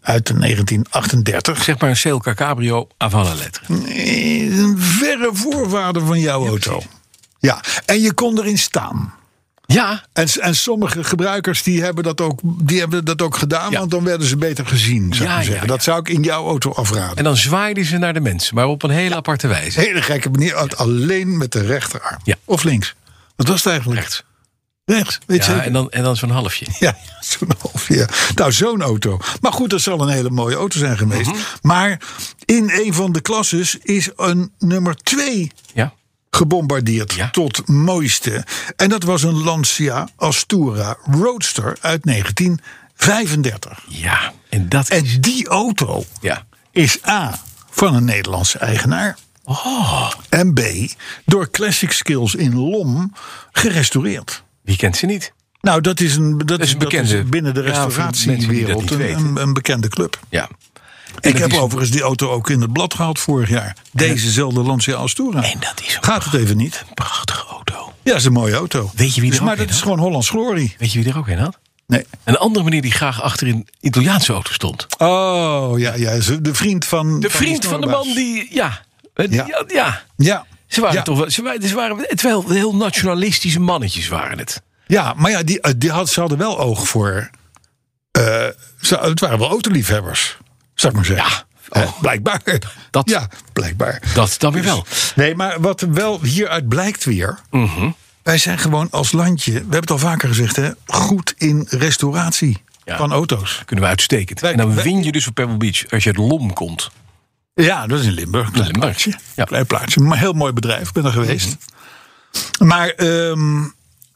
Speaker 2: uit de 1938.
Speaker 3: Zeg maar een Celca Cabrio Avana letteren.
Speaker 2: Eh, Een verre voorwaarde van jouw auto. Ja, en je kon erin staan.
Speaker 3: Ja,
Speaker 2: En, s- en sommige gebruikers die hebben dat ook, die hebben dat ook gedaan,
Speaker 3: Ja.
Speaker 2: want dan werden ze beter gezien, zou ik
Speaker 3: Ja,
Speaker 2: maar
Speaker 3: ja,
Speaker 2: zeggen. Dat
Speaker 3: ja.
Speaker 2: zou ik in jouw auto afraden.
Speaker 3: en dan zwaaiden ze naar de mensen, maar op een hele aparte wijze.
Speaker 2: Hele gekke manier, alleen met de rechterarm.
Speaker 3: Ja.
Speaker 2: Of links. Wat was het eigenlijk?
Speaker 3: Rechts.
Speaker 2: rechts. Weet je
Speaker 3: Ja,
Speaker 2: zeker?
Speaker 3: en dan, en dan zo'n halfje.
Speaker 2: Ja, (laughs) zo'n half jaar. Nou, zo'n auto. Maar goed, dat zal een hele mooie auto zijn geweest.
Speaker 3: Mhm.
Speaker 2: Maar in een van de klasses is een nummer 2
Speaker 3: Ja.
Speaker 2: gebombardeerd
Speaker 3: Ja.
Speaker 2: tot mooiste. En dat was een Lancia Astura Roadster uit 1935.
Speaker 3: Ja, en dat
Speaker 2: En die auto
Speaker 3: Ja.
Speaker 2: is A, van een Nederlandse eigenaar.
Speaker 3: Oh.
Speaker 2: En B, door Classic Skills in Lom gerestaureerd.
Speaker 3: Wie kent ze niet?
Speaker 2: Nou, dat is een, dat
Speaker 3: is
Speaker 2: is,
Speaker 3: een
Speaker 2: dat
Speaker 3: bekende.
Speaker 2: is binnen de
Speaker 3: Ja, voor mensen die
Speaker 2: restauratiewereld
Speaker 3: dat niet
Speaker 2: een, een, een bekende club.
Speaker 3: Ja.
Speaker 2: Ik
Speaker 3: dat
Speaker 2: heb
Speaker 3: is-
Speaker 2: overigens die auto ook in het blad gehaald vorig jaar. Dezezelfde Lancia Astura.
Speaker 3: En dat is een
Speaker 2: Gaat het even niet?
Speaker 3: prachtige auto.
Speaker 2: Ja, is een mooie auto.
Speaker 3: Weet je wie
Speaker 2: Dus-
Speaker 3: er ook
Speaker 2: Maar
Speaker 3: in
Speaker 2: dat is
Speaker 3: had?
Speaker 2: gewoon Hollands glorie.
Speaker 3: Weet je wie er ook in had?
Speaker 2: Nee.
Speaker 3: Een andere meneer die graag achter een Italiaanse auto stond.
Speaker 2: Oh, ja, ja. ze- De vriend van...
Speaker 3: De vriend
Speaker 2: die
Speaker 3: van de
Speaker 2: snelbaas.
Speaker 3: man die. Ja. Eh, die-
Speaker 2: Ja.
Speaker 3: ja.
Speaker 2: Ja.
Speaker 3: Ze waren
Speaker 2: ja.
Speaker 3: toch wel. Ze waren, ze waren, het wel heel nationalistische mannetjes waren het.
Speaker 2: Ja, maar ja, die, eh, die had, ze hadden wel oog voor... eh, ze, het waren wel autoliefhebbers, zou ik maar zeggen.
Speaker 3: Ja. Oh.
Speaker 2: Eh, blijkbaar.
Speaker 3: Dat-
Speaker 2: ja, blijkbaar.
Speaker 3: Dat dan
Speaker 2: Dus-
Speaker 3: weer wel.
Speaker 2: Nee, maar wat wel hieruit blijkt weer.
Speaker 3: Mhm.
Speaker 2: Wij zijn gewoon als landje, we hebben het al vaker gezegd, hè, goed in restauratie
Speaker 3: Ja.
Speaker 2: van auto's.
Speaker 3: Kunnen we uitstekend.
Speaker 2: Wij-
Speaker 3: en dan
Speaker 2: wij-
Speaker 3: win je dus op Pebble Beach als je uit Lom komt.
Speaker 2: Ja, dat is in Limburg. Klein
Speaker 3: Limburg,
Speaker 2: plaatsje.
Speaker 3: ja.
Speaker 2: Klein plaatsje. Maar heel mooi bedrijf, ik ben er geweest. Maar ehm,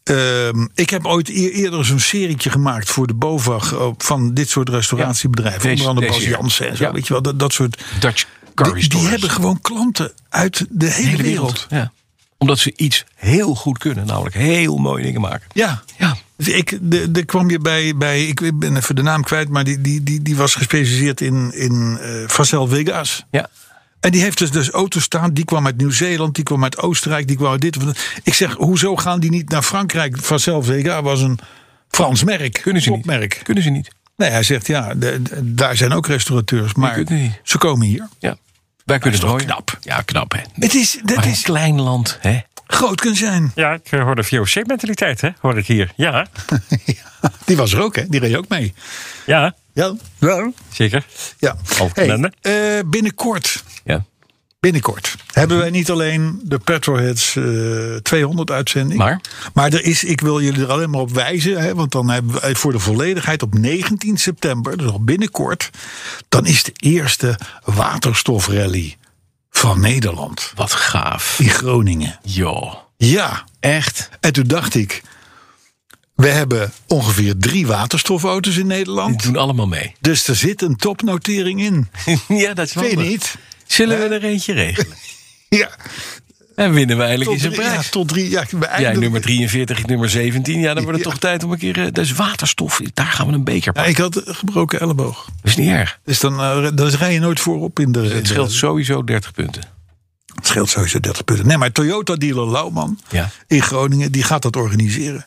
Speaker 2: ehm, ik heb ooit eer- eerder zo'n serietje gemaakt voor de BOVAG eh, van dit soort restauratiebedrijven.
Speaker 3: deze-
Speaker 2: Onder andere
Speaker 3: deze
Speaker 2: Bas
Speaker 3: hier.
Speaker 2: Jansen en zo,
Speaker 3: Ja.
Speaker 2: weet je wel, dat, dat soort.
Speaker 3: Dutch
Speaker 2: Die,
Speaker 3: Car
Speaker 2: die
Speaker 3: Restorers.
Speaker 2: hebben gewoon klanten uit de hele,
Speaker 3: De hele
Speaker 2: wereld.
Speaker 3: wereld. Ja. Omdat ze iets heel goed kunnen, namelijk heel mooie dingen maken.
Speaker 2: Ja. Dus
Speaker 3: Ja.
Speaker 2: Ik, de, de kwam je bij, bij, ik ben even de naam kwijt, maar die, die, die, die was gespecialiseerd in, in eh Facel Vegas.
Speaker 3: Ja.
Speaker 2: En die heeft dus, dus auto's staan, die kwam uit Nieuw-Zeeland, die kwam uit Oostenrijk, die kwam uit dit. of dat. Ik zeg, hoezo gaan die niet naar Frankrijk? Facel Vegas was een Frans merk,
Speaker 3: Kunnen ze niet.
Speaker 2: merk.
Speaker 3: Kunnen ze niet.
Speaker 2: Nee, hij zegt, ja, de- de- daar zijn ook restaurateurs, maar
Speaker 3: kunt het niet.
Speaker 2: ze komen hier.
Speaker 3: Ja. Wij kunnen
Speaker 2: toch
Speaker 3: het mooier.
Speaker 2: knap?
Speaker 3: Ja, knap hè.
Speaker 2: Het is, dat
Speaker 3: Maar een
Speaker 2: is
Speaker 3: klein land, hè?
Speaker 2: groot kunnen zijn.
Speaker 4: Ja, ik eh, hoor de VOC-mentaliteit, hè? Hoor ik hier. Ja,
Speaker 2: Die was er ook, hè? Die reed ook mee.
Speaker 4: ja,
Speaker 2: Ja,
Speaker 3: Hm.
Speaker 2: ja.
Speaker 4: zeker.
Speaker 2: ja.
Speaker 4: Al
Speaker 2: Hey,
Speaker 4: plannen.
Speaker 2: eh, binnenkort
Speaker 3: Ja.
Speaker 2: Binnenkort hebben wij niet alleen de Petroheads eh 200 uitzending.
Speaker 3: Maar?
Speaker 2: maar er is, ik wil jullie er alleen maar op wijzen. Hè, want dan hebben wij voor de volledigheid op 19 september, dus al binnenkort. Dan is de eerste waterstofrally van Nederland.
Speaker 3: Wat gaaf.
Speaker 2: In Groningen.
Speaker 3: Joh.
Speaker 2: Ja,
Speaker 3: Echt?
Speaker 2: en toen dacht ik. We hebben ongeveer drie waterstofauto's in
Speaker 3: Die
Speaker 2: Nederland.
Speaker 3: doen allemaal mee.
Speaker 2: Dus er zit een topnotering in.
Speaker 3: (laughs) ja, dat is
Speaker 2: Vind je
Speaker 3: handig.
Speaker 2: niet?
Speaker 3: Zullen we er eentje regelen?
Speaker 2: Ja,
Speaker 3: En winnen we eigenlijk
Speaker 2: tot
Speaker 3: eens een
Speaker 2: drie. Ja,
Speaker 3: prijs.
Speaker 2: tot drie. Ja, we
Speaker 3: Jij
Speaker 2: eindigen-
Speaker 3: nummer 43, ik nummer 17. Ja, dan wordt het
Speaker 2: Ja.
Speaker 3: toch tijd om een keer... eh, Dat is waterstof. Daar gaan we een beker
Speaker 2: Ja,
Speaker 3: pakken.
Speaker 2: ik had een gebroken elleboog.
Speaker 3: Dat is niet erg.
Speaker 2: Dus dan, eh, dan rij je nooit voorop in de. in
Speaker 3: Het
Speaker 2: de-
Speaker 3: scheelt sowieso 30 punten.
Speaker 2: het scheelt sowieso 30 punten. Nee, maar Toyota dealer Lauwman
Speaker 3: Ja.
Speaker 2: in Groningen, die gaat dat organiseren.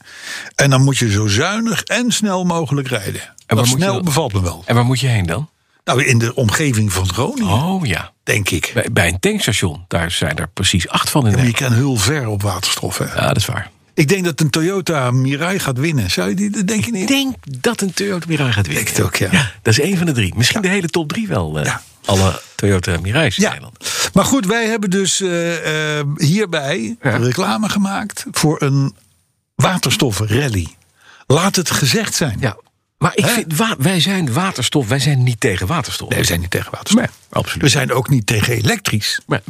Speaker 2: En dan moet je zo zuinig en snel mogelijk rijden. En
Speaker 3: waar
Speaker 2: dat
Speaker 3: moet je
Speaker 2: snel
Speaker 3: dan-
Speaker 2: bevalt me wel.
Speaker 3: En waar moet je heen dan?
Speaker 2: Nou, in de omgeving van Groningen,
Speaker 3: Oh ja,
Speaker 2: denk ik.
Speaker 3: bij, bij een tankstation. Daar zijn er precies acht van in
Speaker 2: Maar je
Speaker 3: Nederland.
Speaker 2: kan heel ver op waterstof. Hè?
Speaker 3: Ja, dat is waar.
Speaker 2: Ik denk dat een Toyota Mirai gaat winnen. Zou je die, dat denk je
Speaker 3: Ik
Speaker 2: niet?
Speaker 3: denk dat een Toyota Mirai gaat winnen.
Speaker 2: Denk het ook, ja.
Speaker 3: Dat is één van de drie. Misschien de hele top drie wel. eh,
Speaker 2: Ja.
Speaker 3: Alle Toyota Mirai's in
Speaker 2: Ja,
Speaker 3: Nederland.
Speaker 2: maar goed, wij hebben dus eh, eh, hierbij reclame gemaakt voor een waterstofrally. Laat het gezegd zijn.
Speaker 3: Ja. Maar ik
Speaker 2: Hè?
Speaker 3: vind, wa- wij zijn waterstof. Wij zijn niet tegen waterstof.
Speaker 2: Nee, we zijn niet tegen waterstof.
Speaker 3: Nee, absoluut.
Speaker 2: We zijn ook niet tegen elektrisch.
Speaker 3: Maar,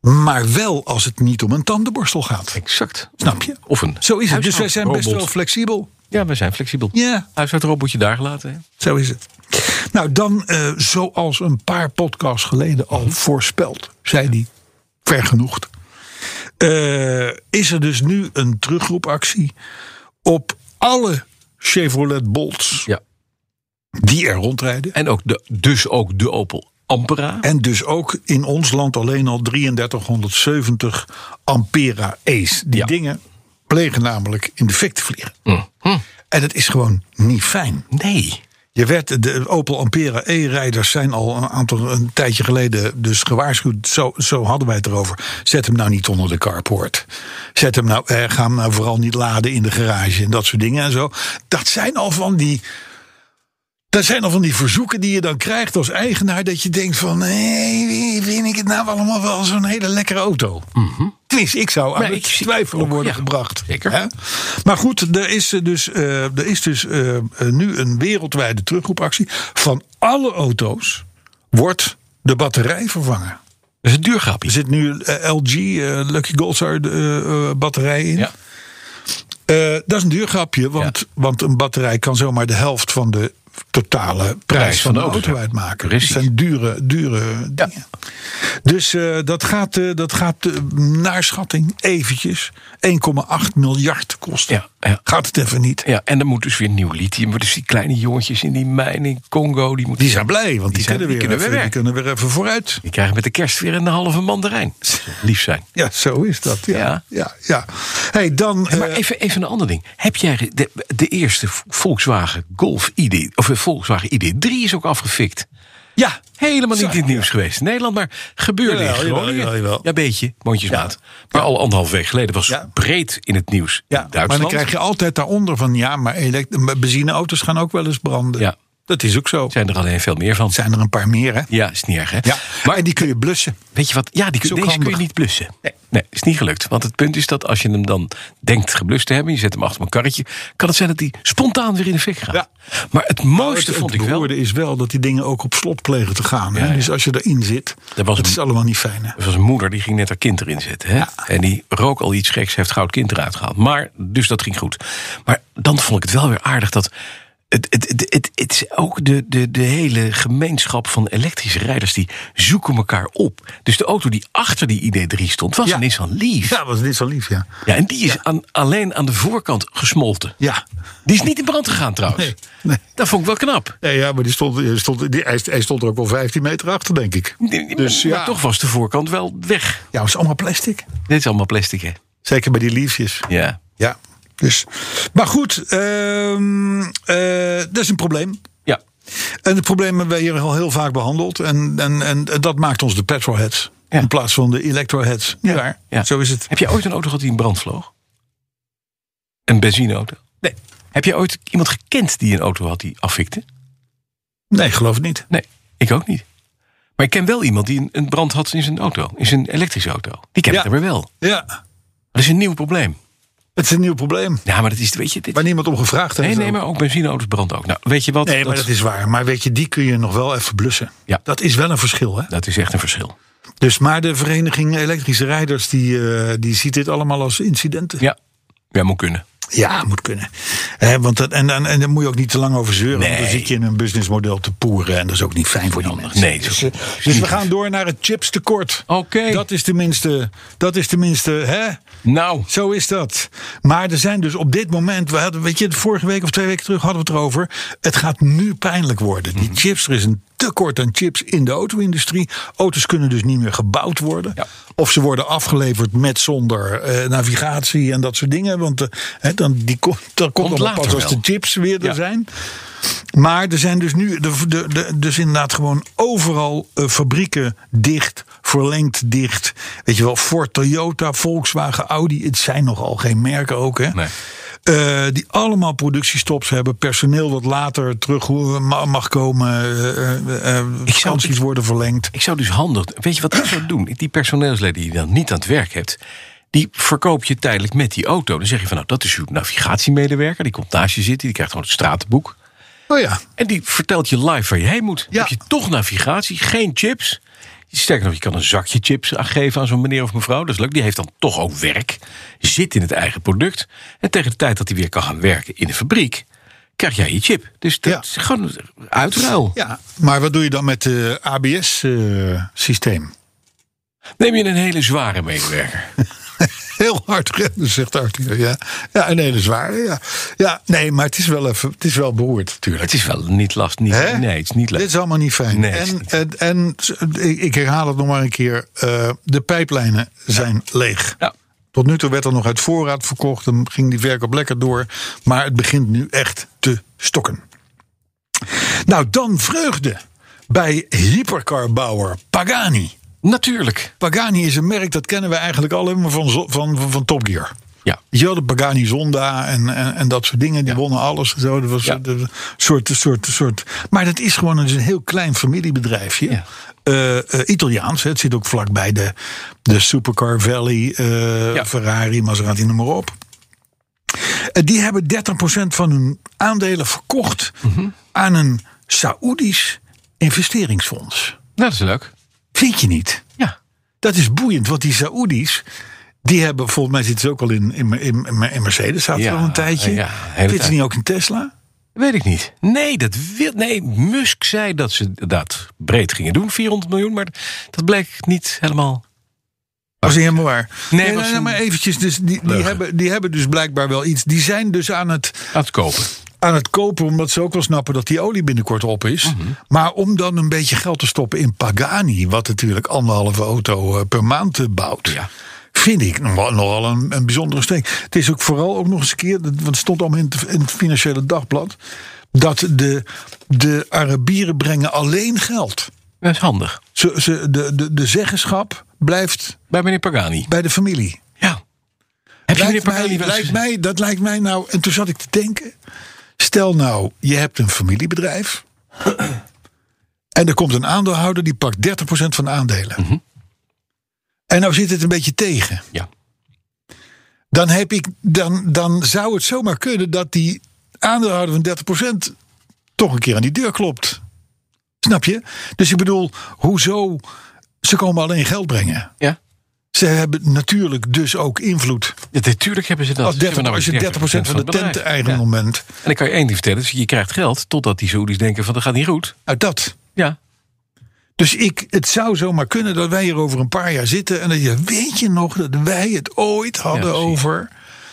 Speaker 2: Maar wel als het niet om een tandenborstel gaat.
Speaker 3: exact.
Speaker 2: Snap je?
Speaker 3: Of een
Speaker 2: Zo is het. Dus wij zijn best wel
Speaker 3: huishoudrobot.
Speaker 2: flexibel.
Speaker 3: Ja, we zijn flexibel.
Speaker 2: Ja.
Speaker 3: Huishoudrobot je daar gelaten. Hè?
Speaker 2: Zo is het. Nou, dan eh, zoals een paar podcasts geleden al voorspeld, zei die vergenoegd. eh, is er dus nu een terugroepactie op alle Chevrolet Bolts
Speaker 3: Ja.
Speaker 2: die er rondrijden.
Speaker 3: En ook de, dus ook de Opel Ampera.
Speaker 2: En dus ook in ons land alleen al 3370 Ampera Ace. Die
Speaker 3: Ja.
Speaker 2: dingen plegen namelijk in de fik te vliegen. En dat is gewoon niet fijn.
Speaker 3: Nee.
Speaker 2: Je werd, de Opel Ampera E-rijders zijn al een, aantal, een tijdje geleden dus gewaarschuwd. Zo, zo hadden wij het erover. Zet hem nou niet onder de carport. Zet hem nou, eh, ga hem nou vooral niet laden in de garage en dat soort dingen en zo. Dat zijn al van die. Dat zijn al van die verzoeken die je dan krijgt als eigenaar. Dat je denkt van, hé, vind ik het nou allemaal wel zo'n hele lekkere auto? Tenminste, ik zou aan
Speaker 3: Maar
Speaker 2: het
Speaker 3: Mhm. ik zie-
Speaker 2: twijfelen
Speaker 3: ook,
Speaker 2: worden
Speaker 3: ja,
Speaker 2: gebracht.
Speaker 3: zeker.
Speaker 2: Hè? Maar goed, er is eh, dus, eh, er is dus eh, eh, nu een wereldwijde terugroepactie. Van alle auto's wordt de batterij vervangen.
Speaker 3: Dat is een duur
Speaker 2: Er
Speaker 3: grapje.
Speaker 2: zit nu eh, LG, eh, Lucky Goldstar eh, eh, batterij in.
Speaker 3: Ja.
Speaker 2: Eh, dat is een duur grapje, want, want een batterij kan zomaar de helft van de totale prijs, van de, auto,
Speaker 3: ja.
Speaker 2: uitmaken.
Speaker 3: Precies.
Speaker 2: Dat zijn dure, dure dingen. Dus eh, dat gaat, eh, dat gaat eh, naar schatting eventjes 1,8 miljard kosten.
Speaker 3: Ja, ja.
Speaker 2: Gaat het even niet.
Speaker 3: Ja, en er moet dus weer nieuw lithium. worden. Dus die kleine jongetjes in die mijn in Congo, die moeten...
Speaker 2: Die zijn blij, want die,
Speaker 3: zijn-
Speaker 2: kunnen, weer
Speaker 3: die kunnen weer
Speaker 2: even, die
Speaker 3: weg.
Speaker 2: kunnen weer even vooruit.
Speaker 3: Die krijgen met de kerst weer een halve mandarijn. Lief zijn.
Speaker 2: Ja, zo is dat. Ja, ja.
Speaker 3: Ja.
Speaker 2: ja, Hey, dan,
Speaker 3: maar
Speaker 2: eh,
Speaker 3: even, even een ander ding. Heb jij de, de eerste Volkswagen Golf ID, of de Volkswagen ID3 is ook afgefikt?
Speaker 2: ja,
Speaker 3: Helemaal niet
Speaker 2: Zo,
Speaker 3: in het nieuws geweest in Nederland, maar gebeurde
Speaker 2: Jawel,
Speaker 3: in Groningen.
Speaker 2: jawel, jawel, jawel.
Speaker 3: Ja, beetje, mondjesmaat. Maar al anderhalf week geleden was
Speaker 2: Ja.
Speaker 3: breed in het nieuws
Speaker 2: Ja,
Speaker 3: in Duitsland.
Speaker 2: maar dan krijg je altijd daaronder van... ja, maar elekt- maar benzineauto's gaan ook wel eens branden.
Speaker 3: Ja.
Speaker 2: Dat is ook zo.
Speaker 3: Zijn er alleen veel meer van.
Speaker 2: zijn er een paar meer, hè?
Speaker 3: Ja, is niet erg, hè?
Speaker 2: Ja, Oh, maar, en die kun je blussen.
Speaker 3: Weet je wat? Ja, die, kun-
Speaker 2: Is ook
Speaker 3: deze kun
Speaker 2: handig.
Speaker 3: je niet blussen. Nee. is niet gelukt. Want het punt is dat als je hem dan denkt geblust te hebben, je zet hem achter een karretje, kan het zijn dat die spontaan weer in de fik gaat.
Speaker 2: Ja. Nou,
Speaker 3: Maar het mooiste
Speaker 2: het
Speaker 3: vond ik wel.
Speaker 2: beroerde is wel dat die dingen ook op slot plegen te gaan. hè?
Speaker 3: Ja, ja.
Speaker 2: Dus als je erin zit,
Speaker 3: Er was
Speaker 2: dat
Speaker 3: een-
Speaker 2: is allemaal niet fijn, hè?
Speaker 3: Er was een moeder die ging net haar kind erin zetten. Hè? En die rook al iets geks, heeft goud kind eruit gehaald. Maar, dus dat ging goed. Maar dan vond ik het wel weer aardig dat. Het, het, het, het, het is ook de, de, de hele gemeenschap van elektrische rijders die zoeken elkaar op. Dus de auto die achter die ID3 stond, was
Speaker 2: Ja.
Speaker 3: een Nissan Leaf.
Speaker 2: Ja, was dit zo lief, ja.
Speaker 3: Ja, en die is aan, alleen aan de voorkant gesmolten.
Speaker 2: Ja.
Speaker 3: Die is niet in brand gegaan trouwens.
Speaker 2: Nee, nee.
Speaker 3: Dat vond ik wel knap.
Speaker 2: Nee, ja, maar die stond, die stond, die, hij, hij stond er ook wel 15 meter achter, denk ik. Dus
Speaker 3: maar
Speaker 2: ja.
Speaker 3: toch was de voorkant wel weg.
Speaker 2: Ja, maar het is allemaal plastic.
Speaker 3: Dit is allemaal plastic, hè?
Speaker 2: Zeker bij die liefjes.
Speaker 3: Ja.
Speaker 2: Ja. Dus. Maar goed, ehm, eh, dat is een probleem.
Speaker 3: Ja.
Speaker 2: En het probleem hebben wij hier al heel vaak behandeld. En, en, en, en dat maakt ons de petrolheads.
Speaker 3: Ja.
Speaker 2: In plaats van de electroheads. Ja, waar?
Speaker 3: ja.
Speaker 2: Zo is het.
Speaker 3: Heb jij ooit een auto gehad die in brand vloog? Een benzineauto? Nee. Heb jij ooit iemand gekend die een auto had die afvikte?
Speaker 2: Nee, geloof het niet.
Speaker 3: Nee, ik ook niet. Maar ik ken wel iemand die een, een brand had in zijn auto, in zijn elektrische auto. Die ken
Speaker 2: Ja.
Speaker 3: ik er weer wel.
Speaker 2: Ja,
Speaker 3: Dat is een nieuw probleem.
Speaker 2: het is een nieuw probleem.
Speaker 3: Ja, maar dat is, weet je, dit,
Speaker 2: Waar niemand om gevraagd heeft.
Speaker 3: nee, nee, maar ook benzineauto's branden ook. Nou, weet je wat?
Speaker 2: Nee, maar dat, is waar. Maar weet je, die kun je nog wel even blussen.
Speaker 3: Ja.
Speaker 2: Dat is wel een verschil, hè?
Speaker 3: dat is echt een verschil.
Speaker 2: Dus, maar de vereniging elektrische rijders, die, eh, die ziet dit allemaal als incidenten.
Speaker 3: Ja, ja moet kunnen.
Speaker 2: Ja, moet kunnen. Hè, want dat, en, en, en daar moet je ook niet te lang over zeuren. Want dan
Speaker 3: Nee.
Speaker 2: zit je in een businessmodel te poeren. En dat is ook niet fijn voor die mensen.
Speaker 3: Nee, dat is
Speaker 2: dus,
Speaker 3: ook-
Speaker 2: eh,
Speaker 3: dat is
Speaker 2: dus we
Speaker 3: niet
Speaker 2: gaan door naar het chipstekort.
Speaker 3: Oké.
Speaker 2: Dat is tenminste, dat is tenminste hè?
Speaker 3: Nou, (laughs)
Speaker 2: zo is dat. Maar er zijn dus op dit moment, we hadden, weet je, vorige week of twee weken terug hadden we het erover. Het gaat nu pijnlijk worden.
Speaker 3: Mhm.
Speaker 2: Die chips, er is een tekort aan chips in de auto-industrie. Auto's kunnen dus niet meer gebouwd worden.
Speaker 3: Ja.
Speaker 2: Of ze worden afgeleverd met zonder eh, navigatie en dat soort dingen. Want eh, hè, dan, die komt, dat komt
Speaker 3: Komt
Speaker 2: allemaal pas
Speaker 3: later
Speaker 2: als de
Speaker 3: wel.
Speaker 2: chips weer er
Speaker 3: Ja.
Speaker 2: zijn. Maar er zijn dus nu de, de, de, dus inderdaad gewoon overal eh, fabrieken dicht, verlengd dicht. Weet je wel, Ford, Toyota, Volkswagen, Audi. Het zijn nogal geen merken ook, hè?
Speaker 3: Nee.
Speaker 2: Eh, die allemaal productiestops hebben. Personeel dat later terug ho- ma- mag komen. eh, eh, eh, Vakanties worden verlengd.
Speaker 3: ik zou dus handig... Weet je wat ik zou doen? Die personeelsleden die je dan niet aan het werk hebt... die verkoop je tijdelijk met die auto. Dan zeg je van, nou, dat is uw navigatiemedewerker. Die komt naast je zitten, die krijgt gewoon het stratenboek.
Speaker 2: Oh ja,
Speaker 3: En die vertelt je live waar je heen moet.
Speaker 2: Ja.
Speaker 3: Dan Heb je toch navigatie, geen chips. Sterker nog, je kan een zakje chips geven aan zo'n meneer of mevrouw. Dat is leuk. Die heeft dan toch ook werk. Zit in het eigen product. En tegen de tijd dat hij weer kan gaan werken in de fabriek... krijg jij je chip. Dus dat
Speaker 2: Ja.
Speaker 3: is gewoon uitruil.
Speaker 2: ja. Maar wat doe je dan met de eh, ABS-systeem?
Speaker 3: Neem je een hele zware medewerker.
Speaker 2: Heel hard rennen, zegt Arthur. Ja, ja een hele zware. Ja. ja, nee, maar het is wel, even, het is wel beroerd natuurlijk.
Speaker 3: Het is wel niet last. Niet,
Speaker 2: Hè?
Speaker 3: nee, het is niet
Speaker 2: Dit
Speaker 3: leuk.
Speaker 2: is allemaal niet fijn.
Speaker 3: Nee, het is
Speaker 2: en
Speaker 3: niet
Speaker 2: en, en ik- ik herhaal het nog maar een keer. eh, de pijplijnen zijn leeg.
Speaker 3: Ja.
Speaker 2: Tot nu toe werd er nog uit voorraad verkocht. Dan ging die verkoop lekker door. Maar het begint nu echt te stokken. Nou, dan vreugde bij hypercarbouwer Pagani.
Speaker 3: Natuurlijk.
Speaker 2: Pagani is een merk dat kennen we eigenlijk alleen maar van, zo- van, van, van Top Gear.
Speaker 3: Ja.
Speaker 2: Je had de Pagani Zonda en, en, en dat soort dingen. Die wonnen alles. en Zo. Dat was
Speaker 3: Ja.
Speaker 2: een een soort, een soort, een soort. Maar dat is gewoon een heel klein familiebedrijfje.
Speaker 3: Ja.
Speaker 2: Eh, eh, Italiaans. hè. Het zit ook vlakbij de, de Supercar Valley, eh,
Speaker 3: Ja.
Speaker 2: Ferrari, Maserati, noem maar op. Eh, die hebben 30% van hun aandelen verkocht
Speaker 3: Mhm.
Speaker 2: aan een Saoedisch investeringsfonds.
Speaker 3: Nou, dat is leuk.
Speaker 2: Vind je niet?
Speaker 3: Ja.
Speaker 2: Dat is boeiend, want die Saoedi's. Die hebben, volgens mij zitten ze ook al in, in, in, in- in Mercedes, zaten
Speaker 3: Ja,
Speaker 2: al een tijdje.
Speaker 3: ja, hele
Speaker 2: Zitten
Speaker 3: tijd.
Speaker 2: ze niet ook in Tesla?
Speaker 3: Weet ik niet. Nee, dat wil, nee, Musk zei dat ze dat breed gingen doen, 400 miljoen. Maar dat bleek niet helemaal.
Speaker 2: Was niet helemaal waar.
Speaker 3: Nee, was een
Speaker 2: maar eventjes. Dus die, die,
Speaker 3: leugen.
Speaker 2: hebben, die hebben dus blijkbaar wel iets. Die zijn dus aan het,
Speaker 3: aan te kopen.
Speaker 2: aan het kopen, omdat ze ook wel snappen dat die olie binnenkort op is. Maar om dan een beetje geld te stoppen in Pagani, wat natuurlijk anderhalve auto eh, per maand eh, bouwt.
Speaker 3: Ja.
Speaker 2: Vind ik nog wel- nogal een, een bijzondere steek. Het is ook vooral ook nog eens een keer, dat- want het stond allemaal in het, in het Financiële Dagblad, dat de, de Arabieren brengen alleen geld.
Speaker 3: Dat is handig.
Speaker 2: Ze, ze, de, de, de zeggenschap blijft
Speaker 3: Bij meneer Pagani.
Speaker 2: bij de familie.
Speaker 3: Ja. Heb je meneer
Speaker 2: Lijkt
Speaker 3: Pagani
Speaker 2: mij,
Speaker 3: wel eens
Speaker 2: lijkt
Speaker 3: gezien?
Speaker 2: mij, dat lijkt mij nou. En toen zat ik te denken. Stel nou, je hebt een familiebedrijf. (clears throat) En er komt een aandeelhouder die pakt 30% van de aandelen. En nou zit het een beetje tegen.
Speaker 3: Mhm. Ja.
Speaker 2: Dan, heb ik, dan, dan zou het zomaar kunnen dat die aandeelhouder van 30% toch een keer aan die deur klopt. Snap je? Dus ik bedoel, hoezo? Ze komen alleen geld brengen.
Speaker 3: Ja.
Speaker 2: Ze hebben natuurlijk dus ook invloed
Speaker 3: Ja, Natuurlijk hebben ze dat.
Speaker 2: als,
Speaker 3: Ze hebben nou
Speaker 2: 30,
Speaker 3: namelijk
Speaker 2: als je 30% van de
Speaker 3: het bedrijf.
Speaker 2: tent eigendom bent,
Speaker 3: Ja. En dan kan je één ding vertellen. dus je krijgt geld totdat die Saoedi's denken van dat gaat niet goed.
Speaker 2: uit dat.
Speaker 3: Ja.
Speaker 2: Dus ik, het zou zomaar kunnen dat wij hier over een paar jaar zitten en dat je, weet je nog dat wij het ooit hadden
Speaker 3: precies.
Speaker 2: over.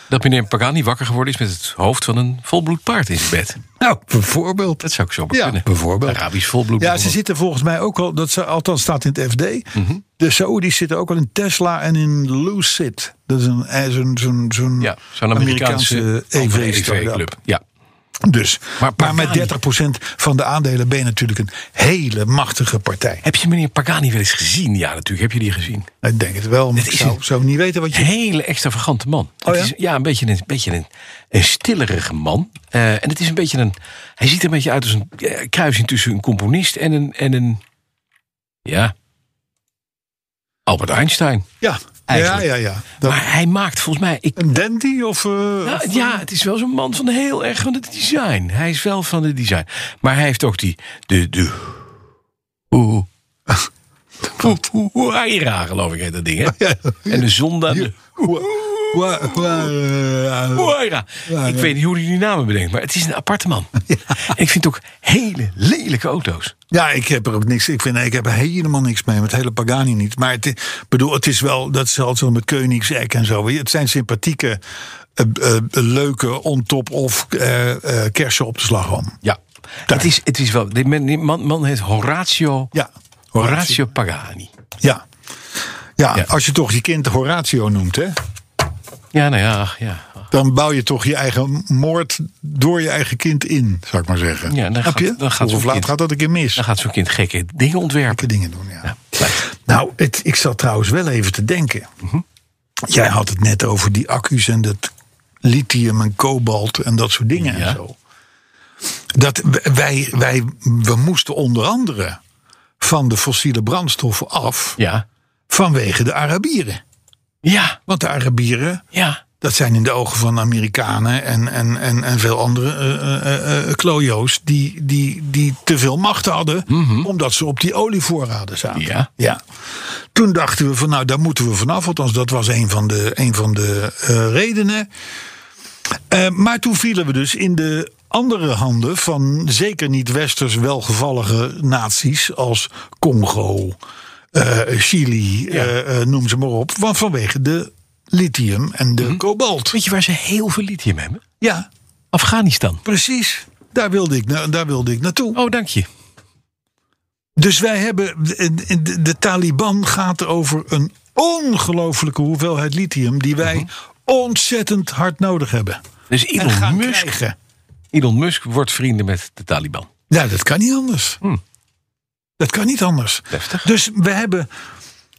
Speaker 3: Dat meneer Pagani wakker geworden is met het hoofd van een volbloed paard in zijn bed.
Speaker 2: Nou, bijvoorbeeld.
Speaker 3: Dat zou ik zo maar
Speaker 2: Ja,
Speaker 3: kunnen.
Speaker 2: bijvoorbeeld.
Speaker 3: Arabisch volbloed.
Speaker 2: Ja, ze zitten volgens mij ook al, dat ze, althans staat in het FD.
Speaker 3: Mhm.
Speaker 2: De Saoedi's zitten ook al in Tesla en in Lucid. Dat is een, eh, zo'n zo'n zo'n
Speaker 3: Ja, zo'n Amerikaanse, andere
Speaker 2: EV-startup.
Speaker 3: EV-club. Ja.
Speaker 2: dus, maar,
Speaker 3: Maar Pagani-
Speaker 2: met 30% van de aandelen ben je natuurlijk een hele machtige partij.
Speaker 3: Heb je meneer Pagani wel eens gezien? Ja, natuurlijk heb je die gezien.
Speaker 2: Ik denk het wel, maar
Speaker 3: Het
Speaker 2: ik
Speaker 3: is
Speaker 2: zou,
Speaker 3: een-
Speaker 2: zou niet weten wat je
Speaker 3: Een hele extravagante man.
Speaker 2: Oh ja?
Speaker 3: Het is, ja, een beetje een, beetje een, een stillerige man. Eh, en het is een beetje een. Hij ziet er een beetje uit als een eh, kruising tussen een componist en een. En een ja. Albert Einstein.
Speaker 2: Ja,
Speaker 3: Eigenlijk.
Speaker 2: ja, ja. ja. Dat-
Speaker 3: Maar hij maakt volgens mij. Ik,
Speaker 2: een dandy of... eh, of-
Speaker 3: nou, ja, het is wel zo'n man van heel erg van het design. Hij is wel van het design. Maar hij heeft ook die. De. de hoe. Hoe, hoe, hoe, Aira, geloof ik, heet dat ding. Hè?
Speaker 2: Ja.
Speaker 3: En de zonde. de-
Speaker 2: Wa- wa- wa- eh,
Speaker 3: Moira.
Speaker 2: Ja,
Speaker 3: ik
Speaker 2: ja.
Speaker 3: weet niet hoe hij die namen bedenkt, maar het is een aparte
Speaker 2: (laughs)
Speaker 3: man. En ik vind ook hele lelijke auto's.
Speaker 2: Ja, ik heb er ook niks. Ik, vind, ik heb er helemaal niks mee. Met hele Pagani niet. Maar het, i- bedoel, het is wel. Dat is altijd zo met Koenigsegg en zo. Het zijn sympathieke, eh, eh, leuke on-top of eh, eh, kersen op de slagroom.
Speaker 3: Ja. Het is, het is wel. Die man, die man, man heet Horatio,
Speaker 2: Ja.
Speaker 3: Horatio Pagani.
Speaker 2: Ja. ja.
Speaker 3: Ja.
Speaker 2: Als je toch je kind Horatio noemt, hè?
Speaker 3: Ja, nou ja, ja.
Speaker 2: Dan bouw je toch je eigen moord door je eigen kind in, zou ik maar zeggen.
Speaker 3: Ja, dan
Speaker 2: Snap
Speaker 3: gaat-
Speaker 2: je?
Speaker 3: dan gaat
Speaker 2: Vroeg of
Speaker 3: zo'n
Speaker 2: laat
Speaker 3: kind-
Speaker 2: gaat dat een keer mis.
Speaker 3: Dan gaat zo'n kind gekke dingen ontwerpen.
Speaker 2: gekke dingen doen, ja.
Speaker 3: Ja, Mhm. blijft.
Speaker 2: Nou, het, ik zat trouwens wel even te denken. Jij had het net over die accu's en dat lithium en kobalt en dat soort dingen
Speaker 3: Ja.
Speaker 2: en zo. Dat w- wij, wij, we moesten onder andere van de fossiele brandstoffen af
Speaker 3: ja.
Speaker 2: vanwege de Arabieren.
Speaker 3: Ja,
Speaker 2: Want de Arabieren,
Speaker 3: ja.
Speaker 2: dat zijn in de ogen van de Amerikanen en, en, en, en veel andere eh, eh eh, eh, klojo's die, die, die te veel macht hadden omdat ze op die olievoorraden zaten.
Speaker 3: Ja.
Speaker 2: Ja. Toen dachten we van nou, daar moeten we vanaf. Althans, dat was een van de, een van de eh, redenen. Eh, maar toen vielen we dus in de andere handen van zeker niet westers welgevallige naties als Congo, eh, Chili, eh, eh, noem ze maar op. Want vanwege de lithium en de kobalt.
Speaker 3: Weet je waar ze heel veel lithium hebben?
Speaker 2: Ja,
Speaker 3: Afghanistan.
Speaker 2: precies. Daar wilde ik, na- daar wilde ik naartoe.
Speaker 3: Oh, dank je.
Speaker 2: Dus wij hebben. De, de- de Taliban gaat over een ongelofelijke hoeveelheid lithium. die wij ontzettend hard nodig hebben.
Speaker 3: Dus
Speaker 2: En
Speaker 3: Elon
Speaker 2: gaan
Speaker 3: Musk,
Speaker 2: krijgen.
Speaker 3: Elon Musk wordt vrienden met de Taliban.
Speaker 2: Nou, dat kan niet anders.
Speaker 3: Hmm.
Speaker 2: Dat kan niet anders.
Speaker 3: Heftig.
Speaker 2: Dus we hebben.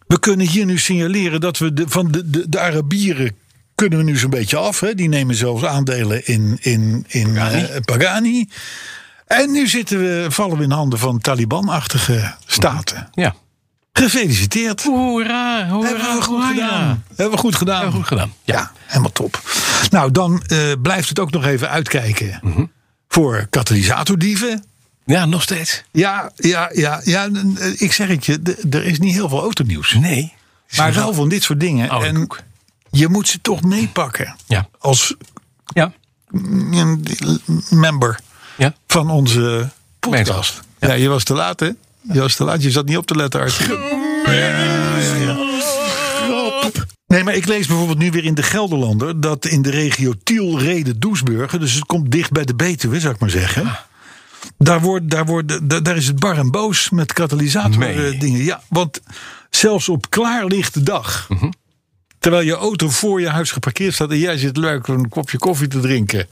Speaker 2: We kunnen hier nu signaleren dat we de, van de, de, de Arabieren kunnen we nu zo'n beetje af. Hè? Die nemen zelfs aandelen in, in, in
Speaker 3: Pagani.
Speaker 2: eh, Pagani. En nu zitten we, vallen we in handen van Taliban-achtige staten.
Speaker 3: Ja. Hm.
Speaker 2: Gefeliciteerd.
Speaker 3: Hoera, hoera,
Speaker 2: Hebben we goed
Speaker 3: hoera.
Speaker 2: gedaan. Hebben we goed gedaan.
Speaker 3: Hebben we goed gedaan.
Speaker 2: Ja, helemaal top. Nou, dan eh, blijft het ook nog even uitkijken
Speaker 3: Mhm.
Speaker 2: voor katalysatordieven.
Speaker 3: Ja, nog steeds.
Speaker 2: Ja, ja, ja, ja. n- eh, Ik zeg het je, d- er is niet heel veel autonieuws.
Speaker 3: Dus Nee.
Speaker 2: Maar Oh, wel van dit soort dingen.
Speaker 3: Oude
Speaker 2: en
Speaker 3: koek.
Speaker 2: je moet ze toch meepakken.
Speaker 3: Ja.
Speaker 2: Als
Speaker 3: Ja.
Speaker 2: mm, member
Speaker 3: Ja.
Speaker 2: van onze podcast.
Speaker 3: Gemeenschap.
Speaker 2: Ja. je was te laat, hè? Je was te laat. Je zat niet op te letten, Art. Nee, maar ik lees bijvoorbeeld nu weer in de Gelderlander dat in de regio Tiel, Reden, Doesburgen, dus het komt dicht bij de Betuwe, zou ik maar zeggen. Daar, wordt, daar, wordt, daar, daar is het bar en boos met katalysator
Speaker 3: Nee.
Speaker 2: eh, dingen. Ja, want zelfs op klaarlichte dag,
Speaker 3: Mhm.
Speaker 2: terwijl je auto voor je huis geparkeerd staat en jij zit leuk een kopje koffie te drinken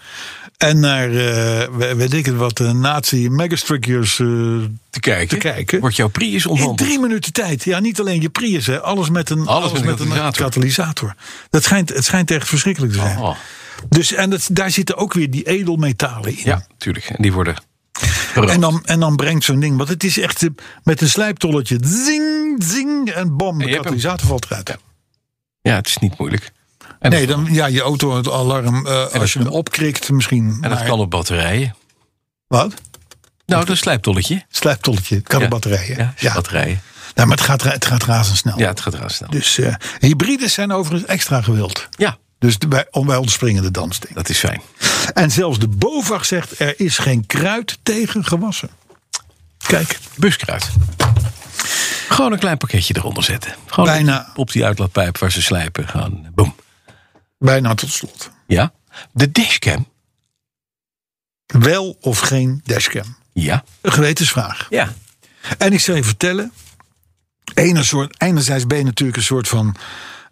Speaker 2: en naar, eh, we- weet ik het wat, eh, nazi megastrickers eh
Speaker 3: Te kijken.
Speaker 2: te kijken.
Speaker 3: Wordt jouw Prius
Speaker 2: in
Speaker 3: onhandig.
Speaker 2: drie minuten tijd. Ja, niet alleen je Prius, hè. alles met een, alles
Speaker 3: met
Speaker 2: met
Speaker 3: een
Speaker 2: een
Speaker 3: katalysator.
Speaker 2: katalysator. Dat schijnt, het schijnt echt verschrikkelijk te zijn.
Speaker 3: Oh.
Speaker 2: Dus, en dat, daar zitten ook weer die edelmetalen in.
Speaker 3: Ja, tuurlijk. En die worden verrood.
Speaker 2: En dan, en dan brengt zo'n ding, want het is echt eh, met een slijptolletje, zing, zing, en bam,
Speaker 3: En
Speaker 2: de
Speaker 3: je hebt hem.
Speaker 2: katalysator valt eruit.
Speaker 3: Ja, het is niet moeilijk. En,
Speaker 2: Nee,
Speaker 3: dat,
Speaker 2: dan, ja, je auto, het alarm, eh, als je hem opkrikt misschien.
Speaker 3: en dat
Speaker 2: maar-
Speaker 3: kan op batterijen.
Speaker 2: Wat?
Speaker 3: Nou, dat is een slijptolletje.
Speaker 2: Slijptolletje, het kan
Speaker 3: Ja.
Speaker 2: op batterijen.
Speaker 3: Ja,
Speaker 2: Ja,
Speaker 3: is batterijen.
Speaker 2: Nou, maar het gaat, ra- het gaat razendsnel.
Speaker 3: Ja, het gaat raar snel.
Speaker 2: Dus eh, hybrides zijn overigens extra gewild.
Speaker 3: Ja,
Speaker 2: Dus de- bij, om- bij ons springende dansding.
Speaker 3: dat is fijn.
Speaker 2: En zelfs de BOVAG zegt er is geen kruid tegen gewassen. Kijk,
Speaker 3: Buskruid. Gewoon een klein pakketje eronder zetten. Gewoon
Speaker 2: Bijna.
Speaker 3: op die uitlaatpijp waar ze slijpen gaan. Boom.
Speaker 2: bijna tot slot.
Speaker 3: Ja. De dashcam.
Speaker 2: Wel of geen dashcam?
Speaker 3: Ja.
Speaker 2: Een gewetensvraag.
Speaker 3: Ja.
Speaker 2: En ik zal je vertellen. Ene soort, enerzijds ben je natuurlijk een soort van.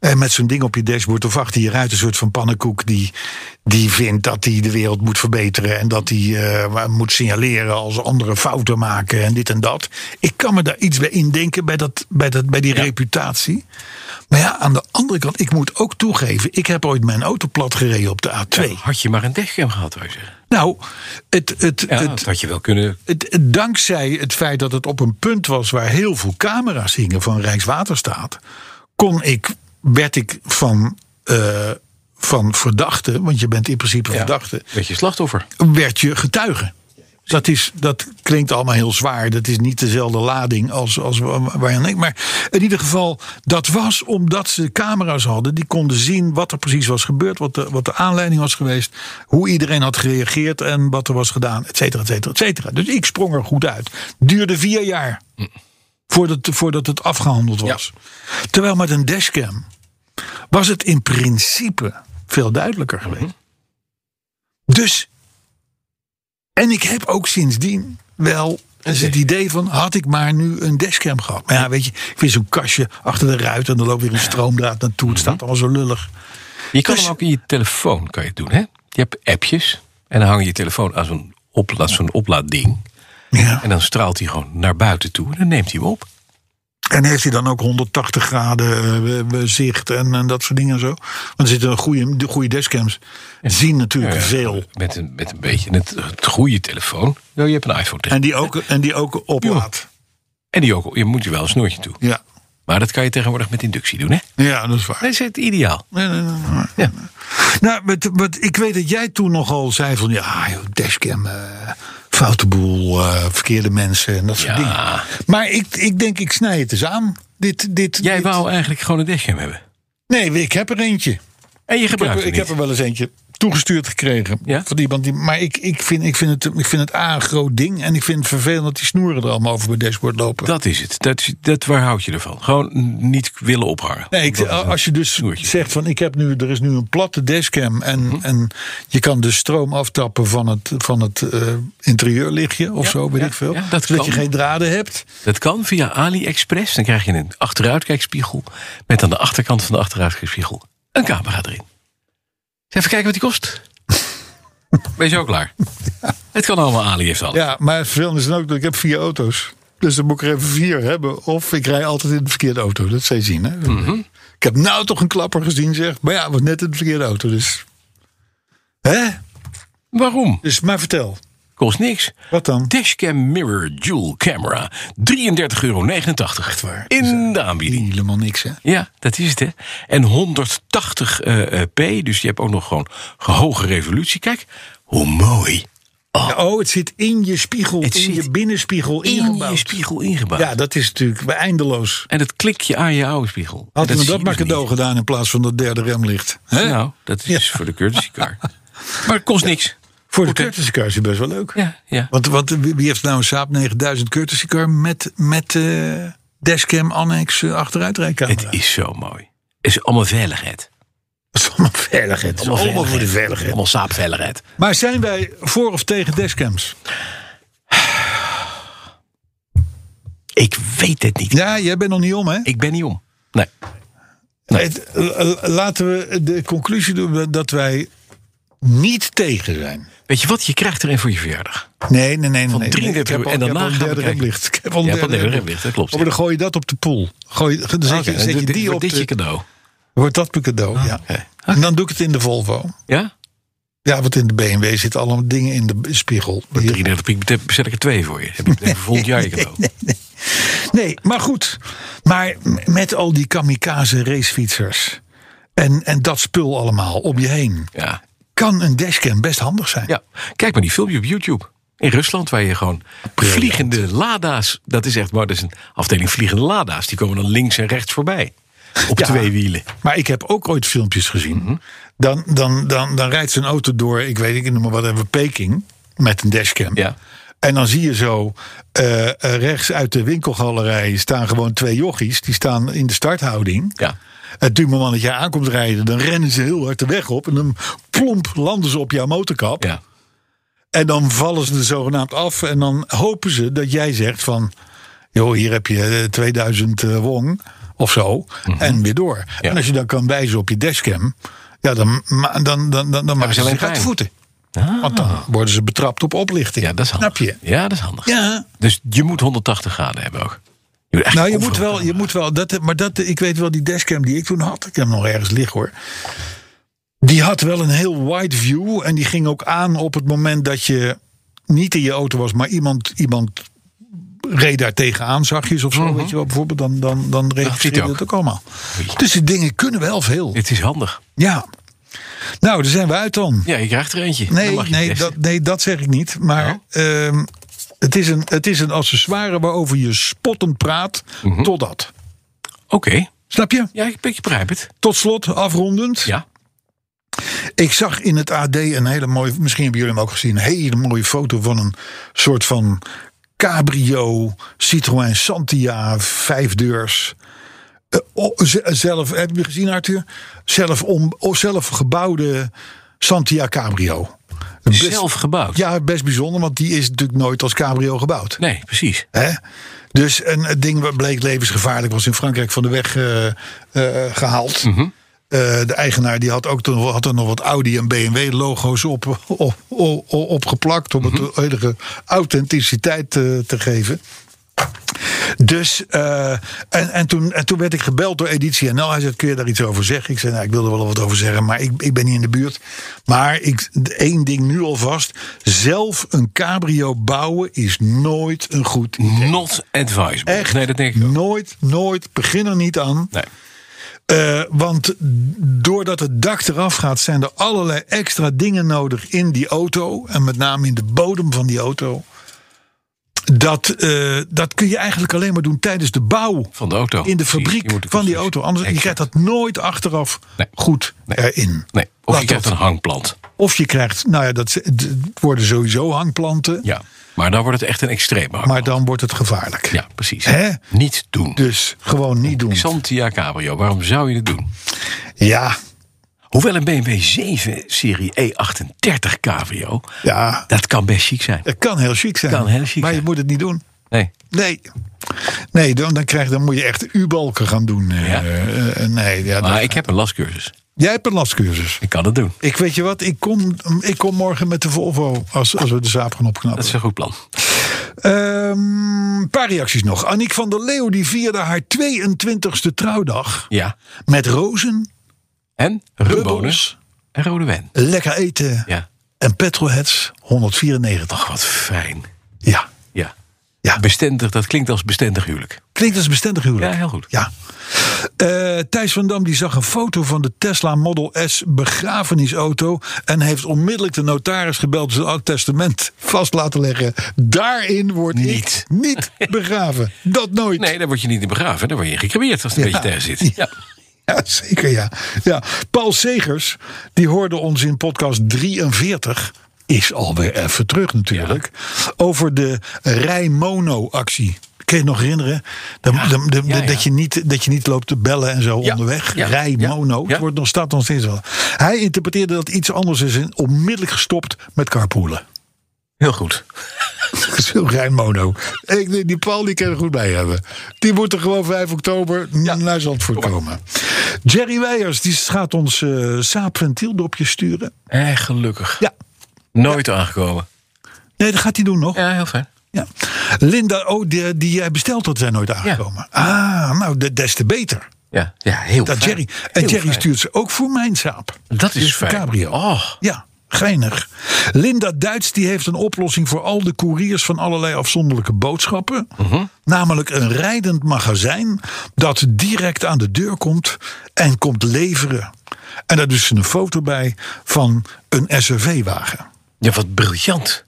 Speaker 2: eh, met zo'n ding op je dashboard of achter je ruit. Een soort van pannenkoek die, die vindt dat hij de wereld moet verbeteren. En dat hij eh, maar moet signaleren als anderen fouten maken en dit en dat. Ik kan me daar iets bij indenken bij, dat, bij, dat, bij die reputatie. Maar ja, aan de andere kant, ik moet ook toegeven. Ik heb ooit mijn auto plat gereden op de A2.
Speaker 3: Had je maar een dashcam gehad, wou je zeggen.
Speaker 2: Nou, het, het,
Speaker 3: Ja,
Speaker 2: het,
Speaker 3: dat had je wel kunnen.
Speaker 2: het, het- dankzij het feit dat het op een punt was waar heel veel camera's hingen van Rijkswaterstaat, kon ik, werd ik van, eh, van verdachte, want je bent in principe verdachte,
Speaker 3: Beetje slachtoffer.
Speaker 2: werd je getuige. Dat, is, dat klinkt allemaal heel zwaar. Dat is niet dezelfde lading als, als wa- wa- waar je aan denkt. Maar in ieder geval, dat was omdat ze camera's hadden. Die konden zien wat er precies was gebeurd. Wat de, wat de aanleiding was geweest. Hoe iedereen had gereageerd en wat er was gedaan. Et cetera, et cetera, et cetera. Dus ik sprong er goed uit. Duurde vier jaar voordat, voordat het afgehandeld was. Terwijl met een dashcam was het in principe veel duidelijker geweest. Dus, en ik heb ook sindsdien wel eens het idee van, had ik maar nu een dashcam gehad. Maar ja, weet je, ik vind zo'n kastje achter de ruit en er loopt weer een stroomdraad naartoe. Het
Speaker 3: Mhm.
Speaker 2: staat allemaal zo lullig.
Speaker 3: Je kan
Speaker 2: Dus-
Speaker 3: hem ook in je telefoon kan je het doen, hè? Je hebt appjes. En dan hang je je telefoon aan zo'n opla zo'n oplaadding.
Speaker 2: Ja.
Speaker 3: En dan straalt hij gewoon naar buiten toe. En dan neemt hij hem op.
Speaker 2: En heeft hij dan ook 180 graden eh, eh, zicht en, en dat soort dingen en zo? Want er zitten goede, de goede dashcams. Zien natuurlijk
Speaker 3: Ja, ja.
Speaker 2: veel.
Speaker 3: Met een, met een beetje het, het goede telefoon. Ja, je hebt een iPhone. tegen.
Speaker 2: En die ook, en die ook oplaat.
Speaker 3: En die ook, je moet je wel een snoertje toe.
Speaker 2: Ja.
Speaker 3: Maar dat kan je tegenwoordig met inductie doen, hè?
Speaker 2: ja, dat is waar.
Speaker 3: Dat is het ideaal.
Speaker 2: Nee, nee, nee, nee.
Speaker 3: Ja.
Speaker 2: Nou, met, met- ik weet dat jij toen nogal zei van ja, joh, dashcam, eh foute boel, eh, verkeerde mensen en dat soort
Speaker 3: Ja.
Speaker 2: dingen. Maar ik, ik denk, ik snij het eens aan. Dit, dit,
Speaker 3: Jij
Speaker 2: dit-
Speaker 3: wou eigenlijk gewoon een dashcam hebben.
Speaker 2: Nee, ik heb er eentje.
Speaker 3: En je
Speaker 2: Ik heb,
Speaker 3: gebruikt
Speaker 2: er-
Speaker 3: het
Speaker 2: ik heb er
Speaker 3: niet.
Speaker 2: wel eens eentje toegestuurd gekregen.
Speaker 3: Ja?
Speaker 2: Van iemand die, maar ik, ik, vind, ik, vind het, ik vind het A een groot ding. En ik vind het vervelend dat die snoeren er allemaal over mijn dashboard lopen.
Speaker 3: Dat is het. Dat, is- dat, waar houd je ervan? Gewoon niet willen ophangen.
Speaker 2: Nee, ik, als je dus
Speaker 3: snoertje. Mhm.
Speaker 2: zegt van ik heb nu, er is nu een platte dashcam en, en je kan de stroom aftappen van het, van het eh, interieurlichtje of
Speaker 3: Ja,
Speaker 2: zo, weet
Speaker 3: ja,
Speaker 2: ik veel.
Speaker 3: ja, dat
Speaker 2: zodat
Speaker 3: kan.
Speaker 2: je geen draden hebt.
Speaker 3: Dat kan via AliExpress. Dan krijg je een achteruitkijkspiegel. Met aan de achterkant van de achteruitkijkspiegel een camera erin. Even kijken wat die
Speaker 2: (laughs)
Speaker 3: kost. Ben je ook klaar? Het kan allemaal Ali heeft alles.
Speaker 2: Ja, maar het vervelende is dan ook dat ik heb vier
Speaker 3: Mhm.
Speaker 2: auto's. Dus dan moet ik er even vier hebben. Of ik rij altijd in de verkeerde auto. Dat zij zien. Hè? Ik heb nou toch een klapper gezien, zeg. Maar ja, het was net een verkeerde auto, dus. Hè?
Speaker 3: Waarom?
Speaker 2: Dus, maar vertel.
Speaker 3: Kost niks.
Speaker 2: Wat dan?
Speaker 3: Dashcam Mirror Dual Camera. 33,89 euro.
Speaker 2: waar.
Speaker 3: In de aanbieding.
Speaker 2: Helemaal niks, hè?
Speaker 3: Ja, dat is het, hè. En 180 eh, eh, p, dus je hebt ook nog gewoon hoge resolutie. Kijk, hoe mooi.
Speaker 2: Oh, het zit in je spiegel,
Speaker 3: Het
Speaker 2: in je
Speaker 3: zit
Speaker 2: binnenspiegel ingebouwd.
Speaker 3: In je spiegel ingebouwd.
Speaker 2: Ja, dat is natuurlijk eindeloos.
Speaker 3: En dat klik je aan je oude spiegel. En
Speaker 2: Hadden we
Speaker 3: zie
Speaker 2: dat
Speaker 3: je
Speaker 2: maar
Speaker 3: dus
Speaker 2: cadeau
Speaker 3: niet.
Speaker 2: gedaan in plaats van dat derde remlicht. Hè?
Speaker 3: Nou, dat is voor de courtesy
Speaker 2: (laughs)
Speaker 3: car. maar het kost niks.
Speaker 2: Voor de
Speaker 3: Oké.
Speaker 2: courtesy car is het best wel leuk.
Speaker 3: Ja, ja.
Speaker 2: Want, want wie wie heeft nou een Saab 9000 courtesy car met, met eh, dashcam annex eh, achteruitrijcamera?
Speaker 3: Het is zo mooi. Het is allemaal veiligheid.
Speaker 2: Dat is allemaal veiligheid. Het is allemaal, voor de veiligheid.
Speaker 3: Allemaal saapveiligheid.
Speaker 2: (laughs) Maar zijn wij voor of tegen dashcams?
Speaker 3: Ik weet het niet.
Speaker 2: Ja, jij bent nog niet om, hè?
Speaker 3: Ik ben niet om. Nee.
Speaker 2: Het- l- l- laten we de conclusie doen dat wij niet tegen zijn.
Speaker 3: Weet je wat? Je krijgt er een voor je verjaardag.
Speaker 2: Nee, nee, nee. nee, nee.
Speaker 3: 33
Speaker 2: Ik heb al-
Speaker 3: en
Speaker 2: ik heb
Speaker 3: daarna
Speaker 2: al een
Speaker 3: gaan we
Speaker 2: derde
Speaker 3: kijken.
Speaker 2: remlicht. Ik heb al een
Speaker 3: Ja,
Speaker 2: derde
Speaker 3: van de
Speaker 2: remlicht.
Speaker 3: remlicht, dat klopt.
Speaker 2: Oh, maar
Speaker 3: ja.
Speaker 2: dan gooi je dat op de pool. Gooi, dan zet je,
Speaker 3: Oké,
Speaker 2: zet je
Speaker 3: dit-
Speaker 2: die op
Speaker 3: dit
Speaker 2: de,
Speaker 3: je Ah. cadeau.
Speaker 2: wordt dat mijn cadeau. ja.
Speaker 3: oké.
Speaker 2: En dan doe ik het in de Volvo.
Speaker 3: Ja?
Speaker 2: Ja, want in de BMW zitten allemaal dingen in de spiegel. Hier-
Speaker 3: 33 piek bezet ik er twee voor je. Heb ik heb volgend
Speaker 2: (laughs)
Speaker 3: jaar je cadeau.
Speaker 2: Nee, maar goed. Maar m- met al die kamikaze racefietsers en, en dat spul allemaal om je heen...
Speaker 3: Ja.
Speaker 2: kan een dashcam best handig zijn.
Speaker 3: ja. Kijk maar die filmpje op YouTube. In Rusland, waar je gewoon vliegende lada's... Dat is echt, maar dat is een afdeling vliegende lada's. Die komen dan links en rechts voorbij. Op
Speaker 2: Ja.
Speaker 3: twee wielen.
Speaker 2: Maar ik heb ook ooit filmpjes gezien.
Speaker 3: Mhm.
Speaker 2: dan, dan, dan, dan rijdt zo'n auto door, ik weet niet, ik noem maar wat even Peking... met een dashcam.
Speaker 3: Ja.
Speaker 2: En dan zie je zo eh, eh, rechts uit de winkelgalerij staan gewoon twee jochies. Die staan in de starthouding.
Speaker 3: Ja.
Speaker 2: Het duurt maar dat jij aankomt rijden, dan rennen ze heel hard de weg op. En dan plomp landen ze op jouw motorkap.
Speaker 3: Ja.
Speaker 2: En dan vallen ze er zogenaamd af. En dan hopen ze dat jij zegt van... joh, hier heb je eh, 2000 eh, wong of zo. En weer door.
Speaker 3: Mhm. Ja.
Speaker 2: En als je dan kan wijzen op je dashcam... Ja, dan, ma- dan, dan, dan, dan maken ze
Speaker 3: alleen
Speaker 2: zich uit de
Speaker 3: pijn.
Speaker 2: voeten. Want dan worden ze betrapt op oplichting.
Speaker 3: ja, dat is handig.
Speaker 2: Snap je?
Speaker 3: Ja, dat is handig.
Speaker 2: Ja.
Speaker 3: Dus je moet 180 graden hebben ook. Je moet echt
Speaker 2: Nou, je moet
Speaker 3: overal
Speaker 2: wel,
Speaker 3: kunnen.
Speaker 2: je moet wel dat, maar dat, ik weet wel, die dashcam die ik toen had, ik heb hem nog ergens liggen hoor. Die had wel een heel wide view en die ging ook aan op het moment dat je niet in je auto was, maar iemand, iemand reed daar tegenaan, zachtjes of zo,
Speaker 3: Mhm.
Speaker 2: weet je wel, bijvoorbeeld, dan, dan, dan registreerde
Speaker 3: ook.
Speaker 2: het ook allemaal. Dus die dingen kunnen wel veel.
Speaker 3: Het is handig.
Speaker 2: Ja. Nou, daar zijn we uit dan.
Speaker 3: Ja, je krijgt er eentje. Dan
Speaker 2: Nee,
Speaker 3: mag je
Speaker 2: nee,
Speaker 3: testen.
Speaker 2: dat, nee, dat zeg ik niet. Maar ehm, het, is een, het is een accessoire waarover je spottend praat
Speaker 3: Mhm.
Speaker 2: totdat.
Speaker 3: Oké.
Speaker 2: Snap je?
Speaker 3: Ja, ik ik begrijp het.
Speaker 2: Tot slot, afrondend.
Speaker 3: Ja.
Speaker 2: Ik zag in het AD een hele mooie, misschien hebben jullie hem ook gezien, een hele mooie foto van een soort van cabrio Citroën Santia vijfdeurs. Eh, o- z- zelf, heb je hem gezien Arthur? Zelf, om, o- zelf gebouwde Santia cabrio. Best-
Speaker 3: Zelf gebouwd.
Speaker 2: Dus- Ja, best bijzonder, want die is natuurlijk nooit als cabrio gebouwd.
Speaker 3: Nee, precies.
Speaker 2: Hè? Dus een, het ding wat bleek levensgevaarlijk was in Frankrijk van de weg eh, eh, gehaald. Eh, de eigenaar die had ook toen, had er nog wat Audi en BMW logo's op, (laughs) op, op, opgeplakt om het de enige authenticiteit eh, te geven. Dus, eh, en, en, toen, en toen werd ik gebeld door Editie NL. Hij zei, kun je daar iets over zeggen? Ik zei, nou, ik wil er wel wat over zeggen, maar ik, ik ben niet in de buurt. Maar ik, één ding nu alvast. Zelf een cabrio bouwen is nooit een goed idee.
Speaker 3: Not advisable.
Speaker 2: Echt
Speaker 3: Nee, dat denk ik ook.
Speaker 2: nooit, nooit. Begin er niet aan.
Speaker 3: Nee.
Speaker 2: Eh, want doordat het dak eraf gaat, zijn er allerlei extra dingen nodig in die auto. En met name in de bodem van die auto. Dat, eh, dat kun je eigenlijk alleen maar doen tijdens de bouw.
Speaker 3: Van de auto.
Speaker 2: In de
Speaker 3: Precies.
Speaker 2: fabriek
Speaker 3: Je moet de
Speaker 2: van die
Speaker 3: constructie-
Speaker 2: auto. Anders, je
Speaker 3: Exact.
Speaker 2: krijgt dat nooit achteraf
Speaker 3: Nee.
Speaker 2: goed
Speaker 3: Nee.
Speaker 2: erin.
Speaker 3: Nee, of
Speaker 2: Laat
Speaker 3: je krijgt
Speaker 2: dat-
Speaker 3: een hangplant.
Speaker 2: Of je krijgt, nou ja, dat z- d- worden sowieso hangplanten.
Speaker 3: Ja. Maar dan wordt het echt een extreem hangplant.
Speaker 2: Maar dan wordt het gevaarlijk.
Speaker 3: Ja, precies.
Speaker 2: Hè?
Speaker 3: Niet doen.
Speaker 2: Dus gewoon niet doen.
Speaker 3: Xantia Cabrio, waarom zou je het doen?
Speaker 2: Ja,
Speaker 3: Hoewel een BMW 7 serie E38 Cabrio,
Speaker 2: ja.
Speaker 3: dat kan best chic zijn.
Speaker 2: Het kan heel chic zijn.
Speaker 3: Kan heel chic
Speaker 2: maar je
Speaker 3: zijn.
Speaker 2: moet het niet doen.
Speaker 3: Nee.
Speaker 2: Nee. Nee, dan, dan, krijg, dan moet je echt U-balken gaan doen. eh,
Speaker 3: Ja.
Speaker 2: eh, eh, nee, ja, dat-
Speaker 3: Maar ik heb een lastcursus.
Speaker 2: jij hebt een lastcursus.
Speaker 3: Ik kan het doen.
Speaker 2: Ik weet je wat, ik kom, ik kom morgen met de Volvo als, als we de zaap gaan
Speaker 3: Dat
Speaker 2: opknappen.
Speaker 3: is een goed plan.
Speaker 2: Ehm, een paar reacties nog. Annick van der Leeuw die vierde haar 22e trouwdag.
Speaker 3: Ja.
Speaker 2: Met rozen,
Speaker 3: En rumbonen
Speaker 2: bubbels,
Speaker 3: en rode wijn.
Speaker 2: lekker eten
Speaker 3: Ja.
Speaker 2: en petrolheads 194.
Speaker 3: Ach, wat fijn.
Speaker 2: Ja,
Speaker 3: Ja.
Speaker 2: Ja.
Speaker 3: Bestendig, dat klinkt als bestendig huwelijk.
Speaker 2: klinkt als een bestendig huwelijk.
Speaker 3: Ja, heel goed.
Speaker 2: Ja. Eh, Thijs van Dam die zag een foto van de Tesla Model S begrafenisauto. En heeft onmiddellijk de notaris gebeld. Zijn oud testament vast laten leggen. Daarin wordt
Speaker 3: Niet.
Speaker 2: niet, niet begraven. Dat nooit.
Speaker 3: Nee, daar word je niet in begraven. Daar word je in gecreëerd als het een
Speaker 2: Ja.
Speaker 3: beetje tegen zit. Ja.
Speaker 2: Ja, zeker ja. ja. Paul Segers, die hoorde ons in podcast 43. Is alweer even terug natuurlijk. Over de Rijmono-actie. Kun je het nog herinneren? Dan- dan- dan-
Speaker 3: ja, ja.
Speaker 2: Dat, je niet, dat je niet loopt te bellen en zo
Speaker 3: Ja,
Speaker 2: onderweg.
Speaker 3: ja,
Speaker 2: Rijmono.
Speaker 3: ja, ja.
Speaker 2: Het wordt nog, staat nog steeds wel. Hij interpreteerde dat iets anders is en onmiddellijk gestopt met carpoolen.
Speaker 3: Heel goed.
Speaker 2: (laughs) Zo Rijmono. Ik, denk, die Paul die kan er goed bij hebben. Die moet er gewoon 5 oktober naar Zandvoort komen. Jerry Weijers die gaat ons eh saapventieldopje sturen.
Speaker 3: Eh, gelukkig.
Speaker 2: Ja.
Speaker 3: Nooit aangekomen.
Speaker 2: Nee, dat gaat hij doen nog. Ja.
Speaker 3: Ja, heel fijn.
Speaker 2: Linda, oh, die, die jij besteld had, zijn nooit aangekomen. Ah, nou, de- des te beter.
Speaker 3: Ja, ja heel
Speaker 2: Dat
Speaker 3: fijn.
Speaker 2: Jerry. En
Speaker 3: Heel
Speaker 2: Jerry
Speaker 3: fijn.
Speaker 2: stuurt ze ook voor mijn saap.
Speaker 3: Dat is
Speaker 2: Dus voor
Speaker 3: fijn.
Speaker 2: Cabrio.
Speaker 3: Oh,
Speaker 2: Ja, geinig. Linda Duits die heeft een oplossing voor al de couriers van allerlei afzonderlijke boodschappen.
Speaker 3: Mhm.
Speaker 2: Namelijk een rijdend magazijn dat direct aan de deur komt en komt leveren. En daar doet ze een foto bij van een SUV-wagen.
Speaker 3: ja, wat briljant.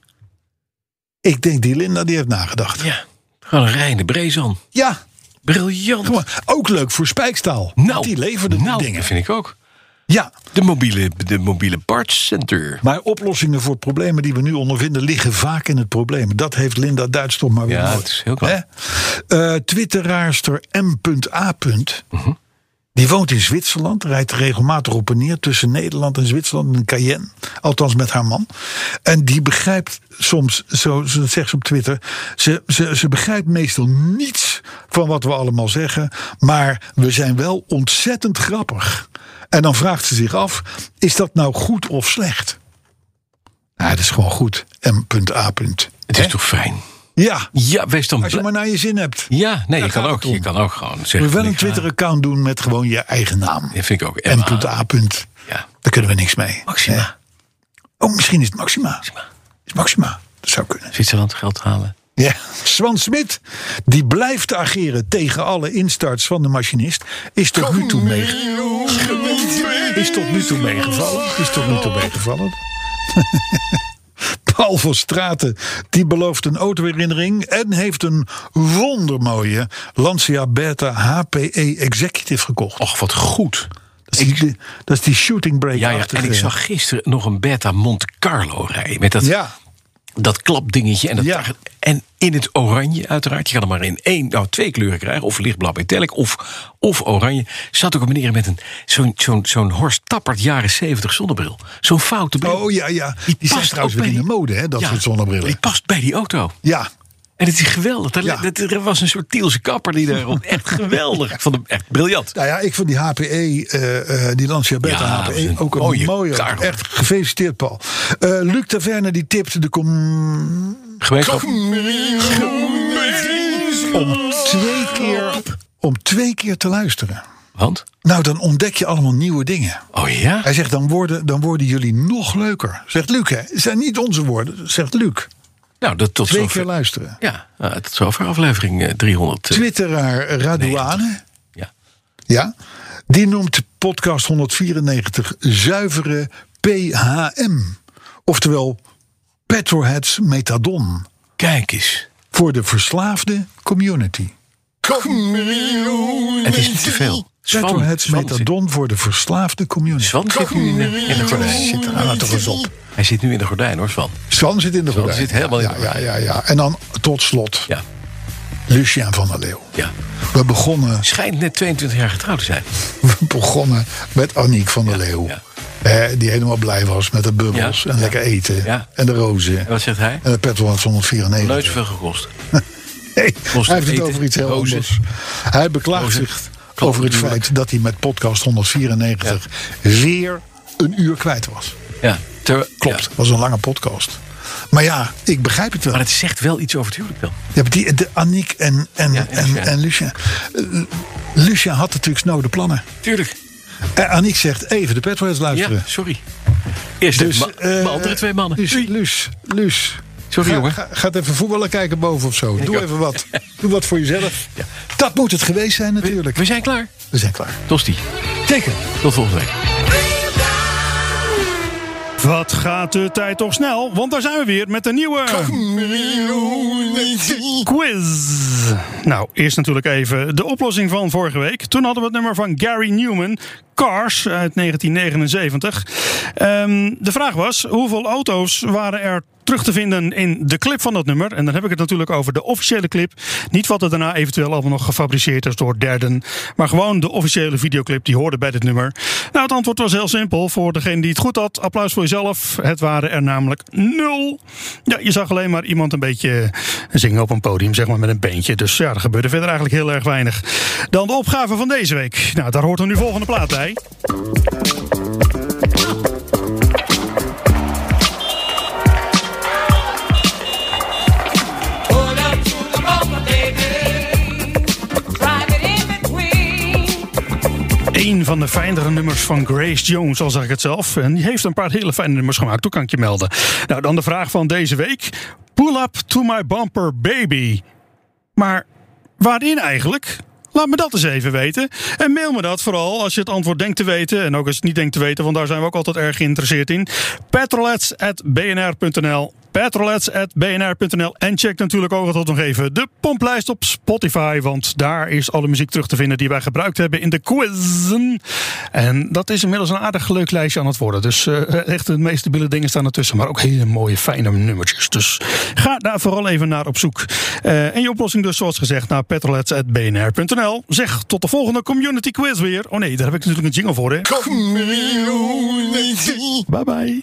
Speaker 2: Ik denk die Linda die heeft nagedacht.
Speaker 3: Ja, gewoon een reine brezan.
Speaker 2: Ja,
Speaker 3: Briljant.
Speaker 2: gewoon. ook leuk voor Spijkstaal.
Speaker 3: nou,
Speaker 2: die leverde die
Speaker 3: nou,
Speaker 2: dingen.
Speaker 3: dat vind ik ook.
Speaker 2: Ja,
Speaker 3: De mobiele, de mobiele parts center.
Speaker 2: maar oplossingen voor problemen die we nu ondervinden liggen vaak in het probleem. Dat heeft Linda Duits toch maar weer
Speaker 3: Ja,
Speaker 2: nooit.
Speaker 3: het is heel klaar.
Speaker 2: Hè? Eh, Twitteraarster M.A.
Speaker 3: Mhm.
Speaker 2: Die woont in Zwitserland, rijdt regelmatig op en neer tussen Nederland en Zwitserland in Cayenne. Althans met haar man. En die begrijpt soms, zo zo zegt ze op Twitter, ze, ze, ze begrijpt meestal niets van wat we allemaal zeggen. Maar we zijn wel ontzettend grappig. En dan vraagt ze zich af, is dat nou goed of slecht? Nou, dat is gewoon goed. M.A.
Speaker 3: Het is toch fijn?
Speaker 2: Ja,
Speaker 3: Ja, wees dan
Speaker 2: als je
Speaker 3: blij.
Speaker 2: maar naar je zin hebt.
Speaker 3: Ja, nee, je
Speaker 2: gaat
Speaker 3: kan, ook,
Speaker 2: het om.
Speaker 3: je kan ook gewoon
Speaker 2: Je
Speaker 3: zeggen.
Speaker 2: moet wel
Speaker 3: van,
Speaker 2: een
Speaker 3: ik ga-
Speaker 2: Twitter-account doen met gewoon je eigen naam.
Speaker 3: Dat vind ik ook.
Speaker 2: M.A.
Speaker 3: Emma. Ja.
Speaker 2: Daar kunnen we niks mee.
Speaker 3: Maxima.
Speaker 2: Nee. Oh, misschien is het Maxima. Is Maxima. Dat zou kunnen.
Speaker 3: Zwitserland geld halen.
Speaker 2: Ja. Swan Smit, die blijft ageren tegen alle instarts van de machinist, is tot nu toe meegevallen. Is tot nu toe meegevallen. Is tot nu toe meegevallen. (laughs) Paul van Straten, die belooft een autoherinnering en heeft een wondermooie Lancia Beta HPE Executive gekocht.
Speaker 3: Och, wat goed.
Speaker 2: Dat is die, dat is die shooting break
Speaker 3: Ja, ja, en ik zag gisteren nog een Beta Monte Carlo rijden. Met dat,
Speaker 2: Ja,
Speaker 3: dat klapdingetje en dat
Speaker 2: Ja.
Speaker 3: target. En in het oranje uiteraard. Je kan er maar in één, nou twee kleuren krijgen. Of lichtblauw metallic of, of oranje. Zat ook een meneer met een, zo'n, zo'n, zo'n Horst Tappert jaren 70 zonnebril. Zo'n foute bril.
Speaker 2: Oh ja, ja. Die, zijn
Speaker 3: past
Speaker 2: trouwens
Speaker 3: ook
Speaker 2: weer in
Speaker 3: bij
Speaker 2: de
Speaker 3: die-
Speaker 2: mode, hè, dat
Speaker 3: Ja,
Speaker 2: soort zonnebrillen.
Speaker 3: Die past bij die auto.
Speaker 2: Ja,
Speaker 3: En het is geweldig. Dat,
Speaker 2: Ja.
Speaker 3: dat- er was een soort Tielse kapper die
Speaker 2: (laughs)
Speaker 3: daarop. Echt geweldig. Ik vond hem echt briljant.
Speaker 2: nou ja, ik vond die HPE, eh, eh, die Lancia Beta
Speaker 3: Ja, dat is
Speaker 2: HPE,
Speaker 3: een
Speaker 2: ook een
Speaker 3: mooie
Speaker 2: mooie.
Speaker 3: kar, hoor.
Speaker 2: echt gefeliciteerd, Paul. Eh, Luc Taverne die tipte de com
Speaker 3: Gemeenschap.
Speaker 2: om twee keer om twee keer te luisteren.
Speaker 3: Want?
Speaker 2: Nou, dan ontdek je allemaal nieuwe dingen.
Speaker 3: Oh ja?
Speaker 2: Hij zegt, dan worden, dan worden jullie nog leuker. Zegt Luc, hè? Het zijn niet onze woorden, zegt Luc.
Speaker 3: Nou, dat tot
Speaker 2: Twee keer
Speaker 3: zover.
Speaker 2: luisteren.
Speaker 3: Ja, nou, tot zover aflevering eh, 300. eh,
Speaker 2: Twitteraar Radouane.
Speaker 3: Ja.
Speaker 2: Ja. Die noemt de podcast 194 zuivere PHM. Oftewel Petroheads Metadon.
Speaker 3: Kijk eens.
Speaker 2: Voor de verslaafde community.
Speaker 3: Het is te veel.
Speaker 2: Petroheads Metadon voor de verslaafde community.
Speaker 3: Swan zit nu in de, in de gordijn.
Speaker 2: Zit er nou toch eens op.
Speaker 3: Hij zit nu in de gordijn hoor, Swan.
Speaker 2: Swan zit in de gordijn.
Speaker 3: zit helemaal in
Speaker 2: ja,
Speaker 3: de gordijn.
Speaker 2: Ja, ja, ja. En dan tot slot
Speaker 3: Ja,
Speaker 2: Lucien van der Leeuw.
Speaker 3: ja.
Speaker 2: We begonnen,
Speaker 3: Schijnt net 22 jaar getrouwd te zijn.
Speaker 2: we (laughs) begonnen met Aniek van der Leeuw.
Speaker 3: ja.
Speaker 2: Hè, die helemaal blij was met de bubbels
Speaker 3: Ja,
Speaker 2: en lekker eten.
Speaker 3: Ja.
Speaker 2: En de rozen.
Speaker 3: En wat zegt hij?
Speaker 2: En de petrol had 194.
Speaker 3: Nooit (laughs) zoveel gekost.
Speaker 2: Nee, hij
Speaker 3: Kost
Speaker 2: heeft het
Speaker 3: eten,
Speaker 2: over iets heel
Speaker 3: rozen.
Speaker 2: anders. Hij beklaagt
Speaker 3: Rozen.
Speaker 2: zich
Speaker 3: Klopt,
Speaker 2: over het
Speaker 3: natuurlijk.
Speaker 2: feit dat hij met podcast 194 weer een uur kwijt was.
Speaker 3: Ja, ter-
Speaker 2: Klopt,
Speaker 3: ja.
Speaker 2: was een lange podcast. Maar ja, ik begrijp het wel.
Speaker 3: Maar het zegt wel iets over het huwelijk dan.
Speaker 2: Ja, maar die, de Annick en, en,
Speaker 3: Ja, en
Speaker 2: en,
Speaker 3: Lucien.
Speaker 2: en Lucien. Eh, Lucien had natuurlijk snode plannen.
Speaker 3: Tuurlijk.
Speaker 2: Eh, Annick zegt even de Petroheads luisteren.
Speaker 3: Ja, sorry. Eerst dus, de
Speaker 2: eh,
Speaker 3: andere twee mannen.
Speaker 2: Dus,
Speaker 3: Doei.
Speaker 2: Luus, Luus.
Speaker 3: Sorry,
Speaker 2: ga,
Speaker 3: jongen.
Speaker 2: Ga, gaat even voetballen kijken boven of zo. Doe
Speaker 3: ook.
Speaker 2: even (laughs) wat. Doe wat voor jezelf. Dat moet het geweest zijn natuurlijk.
Speaker 3: We zijn klaar.
Speaker 2: We zijn klaar.
Speaker 3: Tosti.
Speaker 2: Teken.
Speaker 3: Tot volgende week.
Speaker 5: Wat gaat de tijd toch snel? Want daar zijn we weer met een nieuwe quiz. Nou, eerst natuurlijk even de oplossing van vorige week. Toen hadden we het nummer van Gary Newman, Cars uit 1979. Ehm, de vraag was: hoeveel auto's waren er terug te vinden in de clip van dat nummer? En dan heb ik het natuurlijk over de officiële clip. Niet wat er daarna eventueel allemaal nog gefabriceerd is door derden. Maar gewoon de officiële videoclip die hoorde bij dit nummer. Nou, het antwoord was heel simpel. Voor degene die het goed had, applaus voor jezelf. Het waren er namelijk nul. Ja, je zag alleen maar iemand een beetje zingen op een podium, zeg maar met een beentje. Dus ja, er gebeurde verder eigenlijk heel erg weinig. Dan de opgave van deze week. Nou, daar hoort dan nu volgende plaat bij.
Speaker 6: Hold up to the mama, baby. Drive it in between.
Speaker 5: Eén van de fijnere nummers van Grace Jones, al zeg ik het zelf. En die heeft een paar hele fijne nummers gemaakt, toen kan ik je melden. Nou, dan de vraag van deze week. Pull up to my bumper baby. Maar waarin eigenlijk? Laat me dat eens even weten. En mail me dat vooral als je het antwoord denkt te weten. En ook als je het niet denkt te weten, want daar zijn we ook altijd erg geïnteresseerd in. Petrolets.bnr.nl Petrolets.bnr.nl En check natuurlijk ook altijd nog even de pomplijst op Spotify. Want daar is alle muziek terug te vinden die wij gebruikt hebben in de quizen. En dat is inmiddels een aardig leuk lijstje aan het worden. Dus eh, echt de meest stabiele dingen staan ertussen. Maar ook hele mooie fijne nummertjes. Dus ga daar vooral even naar op zoek. Eh, en je oplossing dus zoals gezegd naar petrolets.bnr.nl. Zeg tot de volgende community quiz weer. Oh nee, daar heb ik natuurlijk een jingle voor hè. Bye bye.